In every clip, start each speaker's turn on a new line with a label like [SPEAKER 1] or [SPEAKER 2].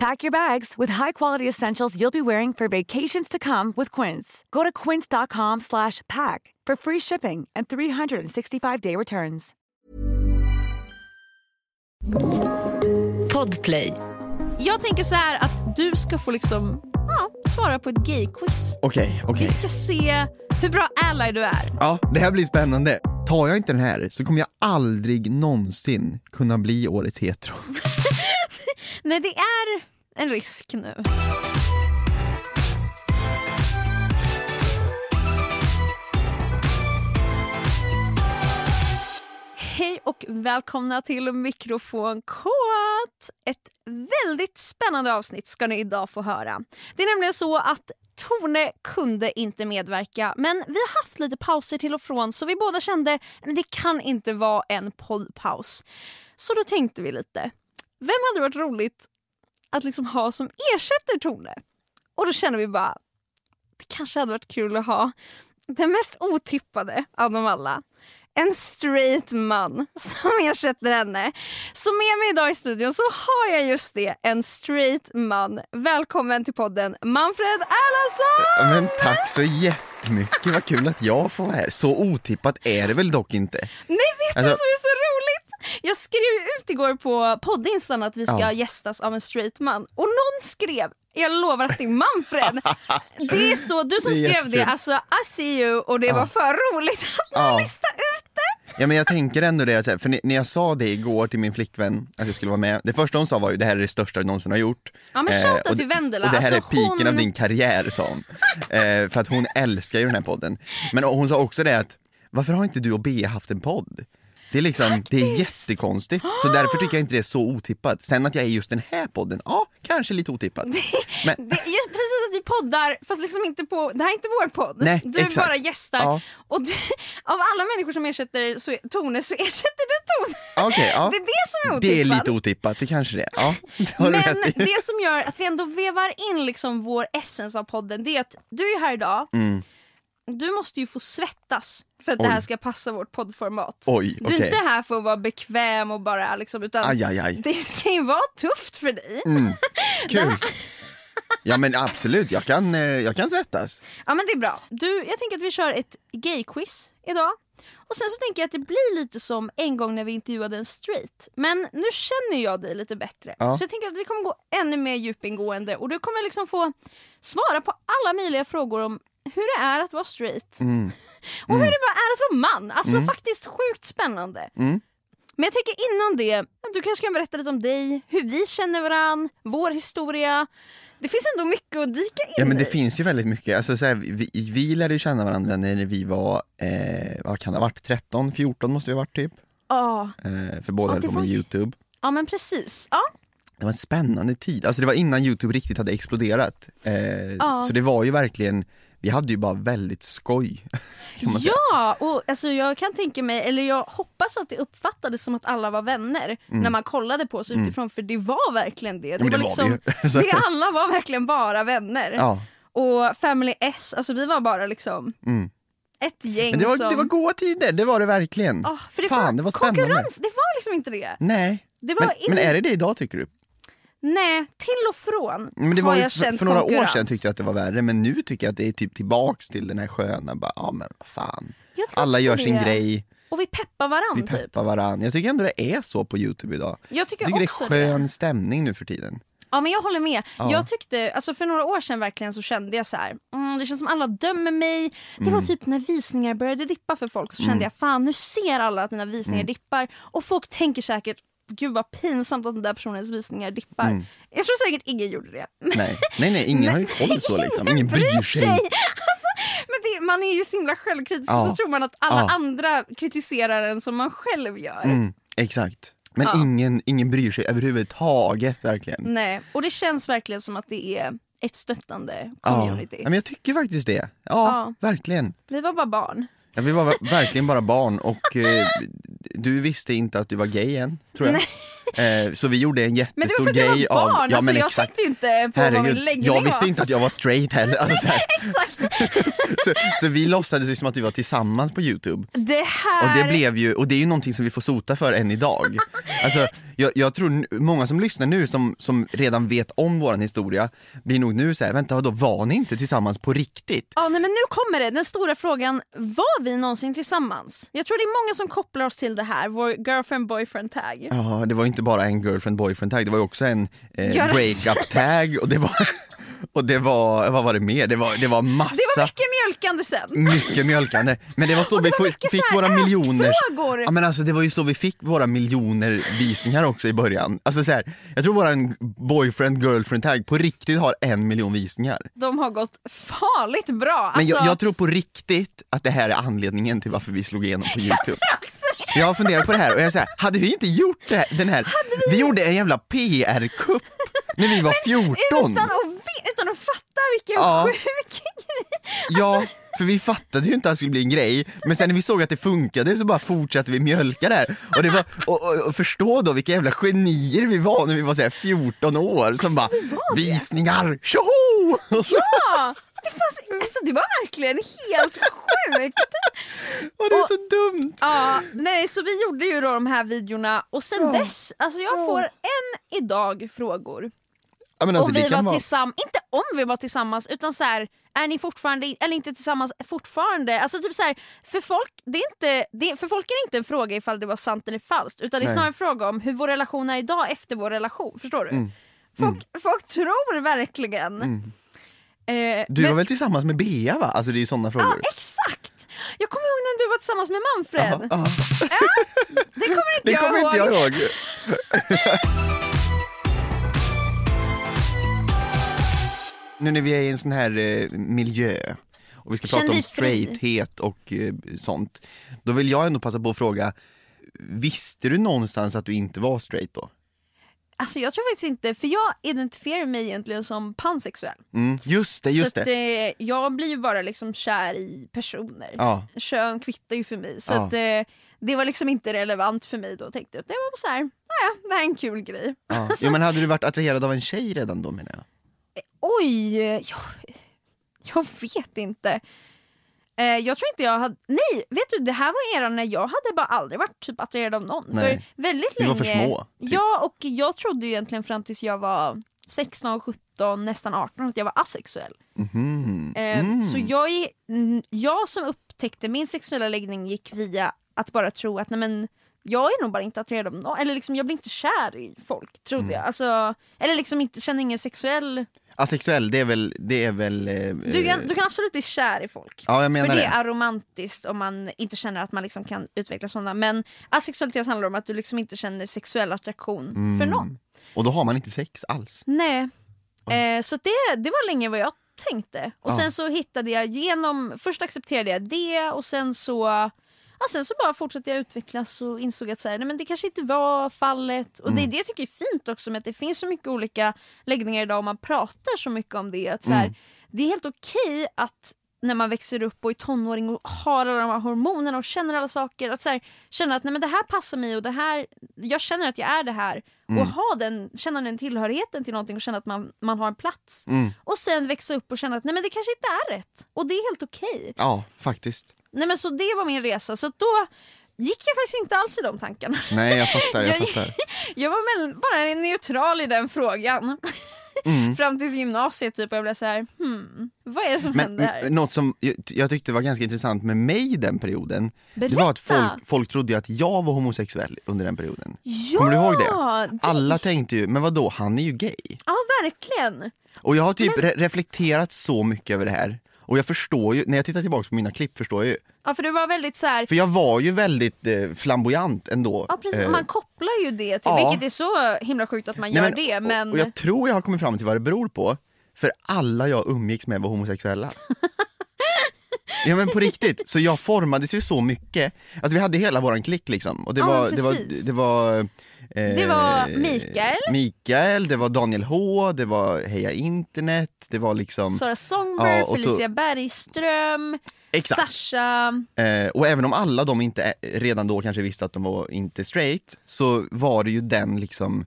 [SPEAKER 1] Pack your bags with high-quality essentials you'll be wearing for vacations to come with Quince. Go to quince.com slash pack for free shipping and 365-day returns.
[SPEAKER 2] Podplay.
[SPEAKER 3] Jag tänker så här att du ska få liksom, ja, svara på ett gay-quiz.
[SPEAKER 4] Okej, okej.
[SPEAKER 3] Vi ska se hur bra ally du är.
[SPEAKER 4] Ja, det här blir spännande. Tar jag inte den här så kommer jag aldrig någonsin kunna bli årets hetero.
[SPEAKER 3] Nej, det är en risk nu. Hej och välkomna till Mikrofon Kåt. Ett väldigt spännande avsnitt ska ni idag få höra. Det är nämligen så att Tone kunde inte medverka men vi har haft lite pauser till och från så vi båda kände att det kan inte vara en poddpaus. Så då tänkte vi lite, vem hade varit roligt att liksom ha som ersätter Tone? Och då kände vi bara, det kanske hade varit kul att ha den mest otippade av dem alla. En straight man som ersätter henne. Så med mig idag i studion så har jag just det, en straight man. Välkommen till podden Manfred Erlandsson!
[SPEAKER 4] Ja, Men tack så jättemycket, vad kul att jag får vara här. Så otippat är det väl dock inte.
[SPEAKER 3] Nej, vet du
[SPEAKER 4] Alltså-
[SPEAKER 3] vad som är så roligt? Jag skrev ju ut igår på poddinstan att vi ska
[SPEAKER 4] Ja.
[SPEAKER 3] gästas av en straight man och någon skrev jag lovar att det är Manfred. Det är så, du som
[SPEAKER 4] Det
[SPEAKER 3] skrev
[SPEAKER 4] är jättekul.
[SPEAKER 3] det, alltså I see you och det var för roligt att ni
[SPEAKER 4] Ja.
[SPEAKER 3] listade ut det.
[SPEAKER 4] Ja men jag tänker ändå det, så här, för ni- när jag sa det igår till min flickvän att jag skulle vara med, det första hon sa var ju det här är det största du någonsin har gjort.
[SPEAKER 3] Ja, men
[SPEAKER 4] Eh,
[SPEAKER 3] shoutout
[SPEAKER 4] och,
[SPEAKER 3] till Vendela.
[SPEAKER 4] Och det här
[SPEAKER 3] Alltså,
[SPEAKER 4] är piken
[SPEAKER 3] hon-
[SPEAKER 4] av din karriär sa hon. eh, för att hon älskar ju den här podden. Men hon sa också det att, varför har inte du och Bea haft en podd? Det är liksom, det är jättekonstigt. Så därför tycker jag inte det är så otippat. Sen att jag är just den här podden, ja kanske lite otippat. Men,
[SPEAKER 3] det är just precis att vi poddar, fast liksom inte på, det här är inte vår podd.
[SPEAKER 4] Nej,
[SPEAKER 3] du
[SPEAKER 4] exakt.
[SPEAKER 3] bara gästar.
[SPEAKER 4] Ja.
[SPEAKER 3] Och du, av alla människor som ersätter så, Tone så ersätter du Tone.
[SPEAKER 4] Okej, ja.
[SPEAKER 3] Det är det som är otippat.
[SPEAKER 4] det är lite otippat, det kanske det är. Ja, det har
[SPEAKER 3] Men
[SPEAKER 4] du rätt i.
[SPEAKER 3] det som gör att vi ändå vevar in liksom vår essens av podden det är att du är här idag.
[SPEAKER 4] Mm.
[SPEAKER 3] Du måste ju få svettas för att det här ska passa vårt poddformat.
[SPEAKER 4] Oj,
[SPEAKER 3] Du är
[SPEAKER 4] okej.
[SPEAKER 3] inte här för att vara bekväm och bara liksom, utan
[SPEAKER 4] Aj, aj, aj.
[SPEAKER 3] det ska ju vara tufft för dig.
[SPEAKER 4] Kul. Ja men absolut, jag kan, eh, jag kan svettas.
[SPEAKER 3] Ja men det är bra. Du, jag tänker att vi kör ett gay-quiz idag. Och sen så tänker jag att det blir lite som en gång när vi intervjuade en straight. Men nu känner jag dig lite bättre.
[SPEAKER 4] Ja.
[SPEAKER 3] Så jag tänker att vi kommer gå ännu mer djupingående och du kommer liksom få svara på alla möjliga frågor om hur det är att vara straight.
[SPEAKER 4] Mm.
[SPEAKER 3] Och hur det är att vara man. Alltså faktiskt sjukt spännande.
[SPEAKER 4] Mm.
[SPEAKER 3] Men jag tänker innan det, du kanske kan berätta lite om dig, hur vi känner varandra, vår historia. Det finns ändå mycket att dyka in
[SPEAKER 4] Ja men det
[SPEAKER 3] i.
[SPEAKER 4] finns ju väldigt mycket, alltså, så här, vi, vi lärde ju känna varandra när vi var, eh, vad kan det ha varit, 13, 14 måste vi ha varit typ.
[SPEAKER 3] Ja.
[SPEAKER 4] Eh, för båda
[SPEAKER 3] Ja,
[SPEAKER 4] höll
[SPEAKER 3] det
[SPEAKER 4] på med
[SPEAKER 3] var-
[SPEAKER 4] Youtube.
[SPEAKER 3] Ja men precis. Ja.
[SPEAKER 4] Det var en spännande tid, alltså det var innan Youtube riktigt hade exploderat. Eh, Så det var ju verkligen, vi hade ju bara väldigt skoj. Kan man säga.
[SPEAKER 3] Ja, och alltså jag kan tänka mig, eller jag hoppas att det uppfattades som att alla var vänner när man kollade på oss utifrån för det var verkligen det.
[SPEAKER 4] Mm. men det var
[SPEAKER 3] liksom,
[SPEAKER 4] vi ju. Så-
[SPEAKER 3] vi alla var verkligen bara vänner.
[SPEAKER 4] Ja.
[SPEAKER 3] Och Family S, alltså vi var bara liksom ett gäng
[SPEAKER 4] Mm. Men det var,
[SPEAKER 3] som...
[SPEAKER 4] det var goda tider, det var det verkligen.
[SPEAKER 3] Ja, för det
[SPEAKER 4] Fan,
[SPEAKER 3] var,
[SPEAKER 4] det var spännande.
[SPEAKER 3] konkurrens, det var liksom inte det.
[SPEAKER 4] Nej.
[SPEAKER 3] Det var
[SPEAKER 4] men,
[SPEAKER 3] in-
[SPEAKER 4] men är det det idag tycker du?
[SPEAKER 3] Nej, till och från
[SPEAKER 4] Men det
[SPEAKER 3] har
[SPEAKER 4] var ju
[SPEAKER 3] jag
[SPEAKER 4] för,
[SPEAKER 3] känt
[SPEAKER 4] för några år
[SPEAKER 3] konkurrens.
[SPEAKER 4] sedan tyckte jag att det var värre, men nu tycker jag att det är typ tillbaks till den här sköna, bara, ja men vad fan.
[SPEAKER 3] Jag tror
[SPEAKER 4] Alla
[SPEAKER 3] också
[SPEAKER 4] gör sin
[SPEAKER 3] det.
[SPEAKER 4] grej,
[SPEAKER 3] Och vi peppar
[SPEAKER 4] vi
[SPEAKER 3] varandra typ.
[SPEAKER 4] peppar varandra. Jag tycker ändå det är så på Youtube idag.
[SPEAKER 3] Jag tycker
[SPEAKER 4] det är
[SPEAKER 3] också
[SPEAKER 4] skön stämning nu för tiden.
[SPEAKER 3] Ja men jag håller med.
[SPEAKER 4] Ja.
[SPEAKER 3] Jag tyckte, alltså för några år sedan verkligen så kände jag så här, mm, det känns som alla dömer mig. Det var
[SPEAKER 4] Mm.
[SPEAKER 3] typ när visningar började dippa för folk så kände jag fan nu ser alla att mina visningar
[SPEAKER 4] Mm.
[SPEAKER 3] dippar och folk tänker säkert gud vad pinsamt att den där personens visningar dippar.
[SPEAKER 4] Mm.
[SPEAKER 3] Jag tror säkert ingen gjorde det. Men
[SPEAKER 4] Nej, nej, nej ingen har ju koll så liksom, ingen bryr sig.
[SPEAKER 3] Alltså, men det, man är ju så himla självkritisk och
[SPEAKER 4] Ja.
[SPEAKER 3] så tror man att alla
[SPEAKER 4] Ja.
[SPEAKER 3] andra kritiserar en som man själv gör.
[SPEAKER 4] Mm, exakt. Men ingen, ingen bryr sig överhuvudtaget verkligen.
[SPEAKER 3] Nej, och det känns verkligen som att det är ett stöttande
[SPEAKER 4] Ja.
[SPEAKER 3] community.
[SPEAKER 4] ja, men jag tycker faktiskt det. Ja,
[SPEAKER 3] Ja.
[SPEAKER 4] verkligen.
[SPEAKER 3] Vi var bara barn.
[SPEAKER 4] Ja, vi var ver- verkligen bara barn och eh, du visste inte att du var gay än, tror jag. Eh, så vi gjorde en
[SPEAKER 3] Men det var
[SPEAKER 4] jättestor
[SPEAKER 3] för att jag
[SPEAKER 4] grej
[SPEAKER 3] var barn,
[SPEAKER 4] av...
[SPEAKER 3] alltså, jag tänkte ju inte på vad min läggning
[SPEAKER 4] jag
[SPEAKER 3] var.
[SPEAKER 4] visste inte att jag var straight heller. Alltså, så, här.
[SPEAKER 3] Exakt.
[SPEAKER 4] så, så vi låtsades ju som att vi var tillsammans på Youtube.
[SPEAKER 3] Det
[SPEAKER 4] Och
[SPEAKER 3] här...
[SPEAKER 4] det, blev ju, och det är ju någonting som vi får sota för än idag. Alltså, jag, jag tror n- många som lyssnar nu som, som redan vet om våran historia blir nog nu så här, vänta vadå var ni inte tillsammans på riktigt?
[SPEAKER 3] Ja, nej, men nu kommer det. Den stora frågan, var vi någonsin tillsammans? Jag tror det är många som kopplar oss till det här, vår girlfriend boyfriend tag.
[SPEAKER 4] Ja, det var ju inte bara en girlfriend boyfriend tag, det var ju också en eh,
[SPEAKER 3] Ja, det-
[SPEAKER 4] breakup tag och det var, och det var, vad var det mer? Det var, det var massa,
[SPEAKER 3] Det var mycket mjölkande sen.
[SPEAKER 4] mycket mjölkande. Men det var så
[SPEAKER 3] Och det
[SPEAKER 4] vi
[SPEAKER 3] var
[SPEAKER 4] få-
[SPEAKER 3] mycket
[SPEAKER 4] fick
[SPEAKER 3] så här
[SPEAKER 4] våra miljoner.
[SPEAKER 3] askfrågor.
[SPEAKER 4] Ja, men alltså, det var ju så vi fick våra miljoner visningar också i början. Alltså, så här, jag tror våran boyfriend girlfriend tag på riktigt har en miljon visningar.
[SPEAKER 3] De har gått farligt bra.
[SPEAKER 4] Men jag,
[SPEAKER 3] Alltså,
[SPEAKER 4] jag tror på riktigt att det här är anledningen till varför vi slog igenom på Youtube.
[SPEAKER 3] Alltså,
[SPEAKER 4] Jag har funderat på det här och jag säger, hade vi inte gjort det här, den här, vi... gjorde en jävla PR-kupp när vi var 14.
[SPEAKER 3] utan, att, ve- utan att fatta vilken
[SPEAKER 4] Ja.
[SPEAKER 3] sjuk grej.
[SPEAKER 4] Ja, för vi fattade ju inte att det skulle bli en grej, men sen när vi såg att det funkade så bara fortsatte vi mjölka där. Och, det var, och, och, och förstå då vilka jävla genier vi var när vi var så här 14 år
[SPEAKER 3] Alltså,
[SPEAKER 4] som bara visningar, tjoho! Och så-
[SPEAKER 3] Ja, det, fanns, alltså, det var verkligen helt sjukt.
[SPEAKER 4] och det är så dumt.
[SPEAKER 3] Ja, nej, så vi gjorde ju då de här videorna och sen dess, alltså jag får än idag frågor.
[SPEAKER 4] Ja, men alltså,
[SPEAKER 3] och
[SPEAKER 4] det
[SPEAKER 3] vi var
[SPEAKER 4] kan vara...
[SPEAKER 3] tillsammans, inte om vi var tillsammans utan så här är ni fortfarande, eller inte tillsammans fortfarande? Alltså typ så här, för folk, det är inte, det, för folk är det inte en fråga ifall det var sant eller falskt utan det är
[SPEAKER 4] Nej.
[SPEAKER 3] snarare en fråga om hur vår relation är idag efter vår relation, förstår du?
[SPEAKER 4] Mm.
[SPEAKER 3] Folk, folk tror verkligen. Eh,
[SPEAKER 4] Du
[SPEAKER 3] men-
[SPEAKER 4] var väl tillsammans med Bea va? Alltså det är ju sådana frågor.
[SPEAKER 3] Exakt! Jag kommer ihåg när du var tillsammans med Manfred.
[SPEAKER 4] Ja,
[SPEAKER 3] Det kommer inte
[SPEAKER 4] det
[SPEAKER 3] jag
[SPEAKER 4] kommer
[SPEAKER 3] ihåg.
[SPEAKER 4] inte jag ihåg. nu när vi är i en sån här eh, miljö och vi ska
[SPEAKER 3] Känn
[SPEAKER 4] prata om
[SPEAKER 3] dig fri.
[SPEAKER 4] straighthet och eh, sånt. Då vill jag ändå passa på att fråga, visste du någonstans att du inte var straight då?
[SPEAKER 3] Alltså jag tror faktiskt inte, för jag identifierar mig egentligen som pansexuell.
[SPEAKER 4] Mm, just det, just
[SPEAKER 3] så att,
[SPEAKER 4] det.
[SPEAKER 3] eh, jag blir ju bara liksom kär i personer.
[SPEAKER 4] Ja.
[SPEAKER 3] Kön kvittar ju för mig. Så
[SPEAKER 4] Ja.
[SPEAKER 3] att, eh, det var liksom inte relevant för mig då tänkte jag. Det var så här, nej, det här är en kul grej.
[SPEAKER 4] Ja. Jo, men hade du varit attraherad av en tjej redan då menar jag?
[SPEAKER 3] Oj, eh, jag, jag vet inte. Eh, jag tror inte jag hade, nej vet du det här var eran när jag hade bara aldrig varit typ attraherad av någon.
[SPEAKER 4] Nej.
[SPEAKER 3] För väldigt
[SPEAKER 4] Vi
[SPEAKER 3] länge.
[SPEAKER 4] var för små, typ.
[SPEAKER 3] Ja och jag trodde ju egentligen fram tills jag var 16, 17, nästan 18 att jag var asexuell.
[SPEAKER 4] Mhm.
[SPEAKER 3] Eh,
[SPEAKER 4] Mm.
[SPEAKER 3] Så jag, är- n- jag som upptäckte min sexuella läggning gick via att bara tro att nej men jag är nog bara inte attraherad av någon, eller liksom jag blir inte kär i folk trodde
[SPEAKER 4] Mm.
[SPEAKER 3] jag. Alltså, eller liksom inte, känner ingen sexuell
[SPEAKER 4] Asexuell, det är väl... Det är väl eh,
[SPEAKER 3] du kan, du kan absolut bli kär i folk.
[SPEAKER 4] Ja, jag menar
[SPEAKER 3] för det
[SPEAKER 4] det.
[SPEAKER 3] är romantiskt om man inte känner att man liksom kan utveckla sådana. Men asexualitet handlar om att du liksom inte känner sexuell attraktion
[SPEAKER 4] Mm.
[SPEAKER 3] för någon.
[SPEAKER 4] Och då har man inte sex alls.
[SPEAKER 3] Nej. Eh, så det, det var länge vad jag tänkte. Och
[SPEAKER 4] Ja.
[SPEAKER 3] sen så hittade jag genom, först accepterade jag det och sen så Ja, sen så bara fortsatte jag utvecklas och insåg att så här, nej, men det kanske inte var fallet. Och Det är det jag tycker är fint också med att det finns så mycket olika läggningar idag och man pratar så mycket om det. Att så här, Det är helt okej att när man växer upp och är tonåring och har alla de här hormonerna och känner alla saker. Att så här, känna att nej, men det här passar mig och det här, jag känner att jag är det här. Och ha den, känna den tillhörigheten till någonting och känna att man, man har en plats. Och sen växa upp och känna att nej, men det kanske inte är rätt. Och det är helt okej.
[SPEAKER 4] Ja, faktiskt.
[SPEAKER 3] Nej, men så det var min resa. Så då gick jag faktiskt inte alls i de tankarna.
[SPEAKER 4] Nej, jag fattar. Jag
[SPEAKER 3] Jag-
[SPEAKER 4] fattar.
[SPEAKER 3] Jag var mell- bara neutral i den frågan.
[SPEAKER 4] Mm.
[SPEAKER 3] Fram tills gymnasiet typ, och jag blev så här, hmm, vad är det som
[SPEAKER 4] Men
[SPEAKER 3] händer? här?
[SPEAKER 4] n- något som jag- jag tyckte var ganska intressant med mig i den perioden, det var att
[SPEAKER 3] Berätta.
[SPEAKER 4] folk, folk trodde ju att jag var homosexuell under den perioden. Kommer du ihåg det?
[SPEAKER 3] det-
[SPEAKER 4] Alla tänkte ju, men vad då? han är ju gay.
[SPEAKER 3] Ja, verkligen.
[SPEAKER 4] Och jag har typ re- reflekterat så mycket över det här. Och jag förstår ju, när jag tittar tillbaka på mina klipp förstår jag ju.
[SPEAKER 3] Ja, för du var väldigt så här,
[SPEAKER 4] För jag var ju väldigt eh, flamboyant ändå.
[SPEAKER 3] ja, precis,
[SPEAKER 4] Eh,
[SPEAKER 3] man kopplar ju det till,
[SPEAKER 4] ja.
[SPEAKER 3] vilket är så himla sjukt att man
[SPEAKER 4] nej,
[SPEAKER 3] gör
[SPEAKER 4] men-
[SPEAKER 3] det.
[SPEAKER 4] och-
[SPEAKER 3] Men
[SPEAKER 4] Och jag tror jag har kommit fram till vad det beror på. För alla jag umgicks med var homosexuella. ja men på riktigt, så jag formades ju så mycket. Alltså vi hade hela våran klick liksom. Och det
[SPEAKER 3] Ja,
[SPEAKER 4] var,
[SPEAKER 3] men
[SPEAKER 4] det var,
[SPEAKER 3] precis.
[SPEAKER 4] det var, eh,
[SPEAKER 3] Det var Mikael.
[SPEAKER 4] Mikael, det var Daniel H, det var Heja internet, det var liksom
[SPEAKER 3] Sara Songberg,
[SPEAKER 4] Ja, och så-
[SPEAKER 3] Felicia Bergström,
[SPEAKER 4] Exakt.
[SPEAKER 3] Sasha.
[SPEAKER 4] Eh, och även om alla de inte eh, redan då kanske visste att de var inte straight så var det ju den liksom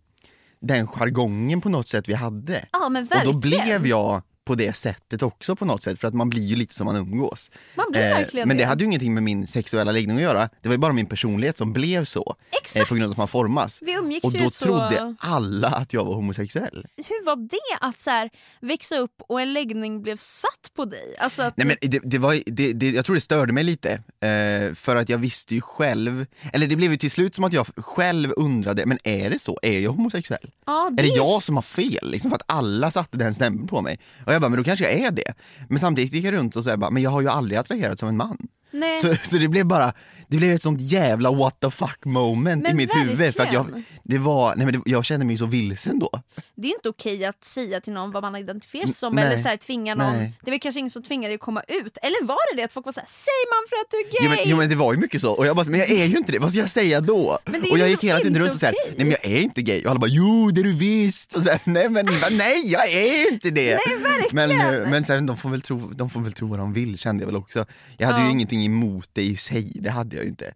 [SPEAKER 4] den jargongen på något sätt vi hade.
[SPEAKER 3] Ja, men
[SPEAKER 4] och då
[SPEAKER 3] verkligen.
[SPEAKER 4] blev jag på det sättet också på något sätt för att man blir ju lite som man umgås. Eh,
[SPEAKER 3] Man blir verkligen
[SPEAKER 4] men det
[SPEAKER 3] det.
[SPEAKER 4] hade ju ingenting med min sexuella läggning att göra. Det var ju bara min personlighet som blev så. eh,
[SPEAKER 3] Exakt.
[SPEAKER 4] på grund av att man formas.
[SPEAKER 3] Vi umgicks
[SPEAKER 4] och
[SPEAKER 3] ju
[SPEAKER 4] då
[SPEAKER 3] så-
[SPEAKER 4] trodde alla att jag var homosexuell.
[SPEAKER 3] Hur var det att så här, växa upp och en läggning blev satt på dig? Alltså att,
[SPEAKER 4] Nej, men det, det var, det, det, jag tror det störde mig lite, eh, för att jag visste ju själv, eller det blev ju till slut som att jag själv undrade, men är det så? Är jag homosexuell?
[SPEAKER 3] Ja, det
[SPEAKER 4] är det
[SPEAKER 3] är ju-
[SPEAKER 4] jag som har fel? Liksom, för att alla satte den stämpeln på mig. Och jag bara, men då kanske jag är det. Men samtidigt gick jag runt och så här bara, men jag har ju aldrig attraherats av en man.
[SPEAKER 3] nej.
[SPEAKER 4] Så, så det blev bara, det blev ett sånt jävla what the fuck moment i
[SPEAKER 3] Men
[SPEAKER 4] mitt huvud. För att jag,
[SPEAKER 3] verkligen.
[SPEAKER 4] det var, nej men det, jag kände mig ju så vilsen då.
[SPEAKER 3] det är inte okej att säga till någon vad man identifierar sig som
[SPEAKER 4] nej,
[SPEAKER 3] eller så här, tvinga någon.
[SPEAKER 4] nej.
[SPEAKER 3] Det var kanske ingen som tvingade dig att komma ut. Eller var det det att folk var såhär, säger man för att du är gay?
[SPEAKER 4] Jo men, jo men det var ju mycket så och jag bara, men jag är ju inte det, vad ska jag säga då?
[SPEAKER 3] Men det är
[SPEAKER 4] och jag
[SPEAKER 3] ju
[SPEAKER 4] gick hela tiden
[SPEAKER 3] inte
[SPEAKER 4] runt och såhär,
[SPEAKER 3] okej.
[SPEAKER 4] nej men jag är inte gay och alla bara, jo det är du visst och så här, nej men va, nej jag är inte det. Nej, men eh, men sen, de, får väl tro, de får väl tro vad de vill kände jag väl också. Jag hade ju ingenting emot det i sig, det hade jag ju inte.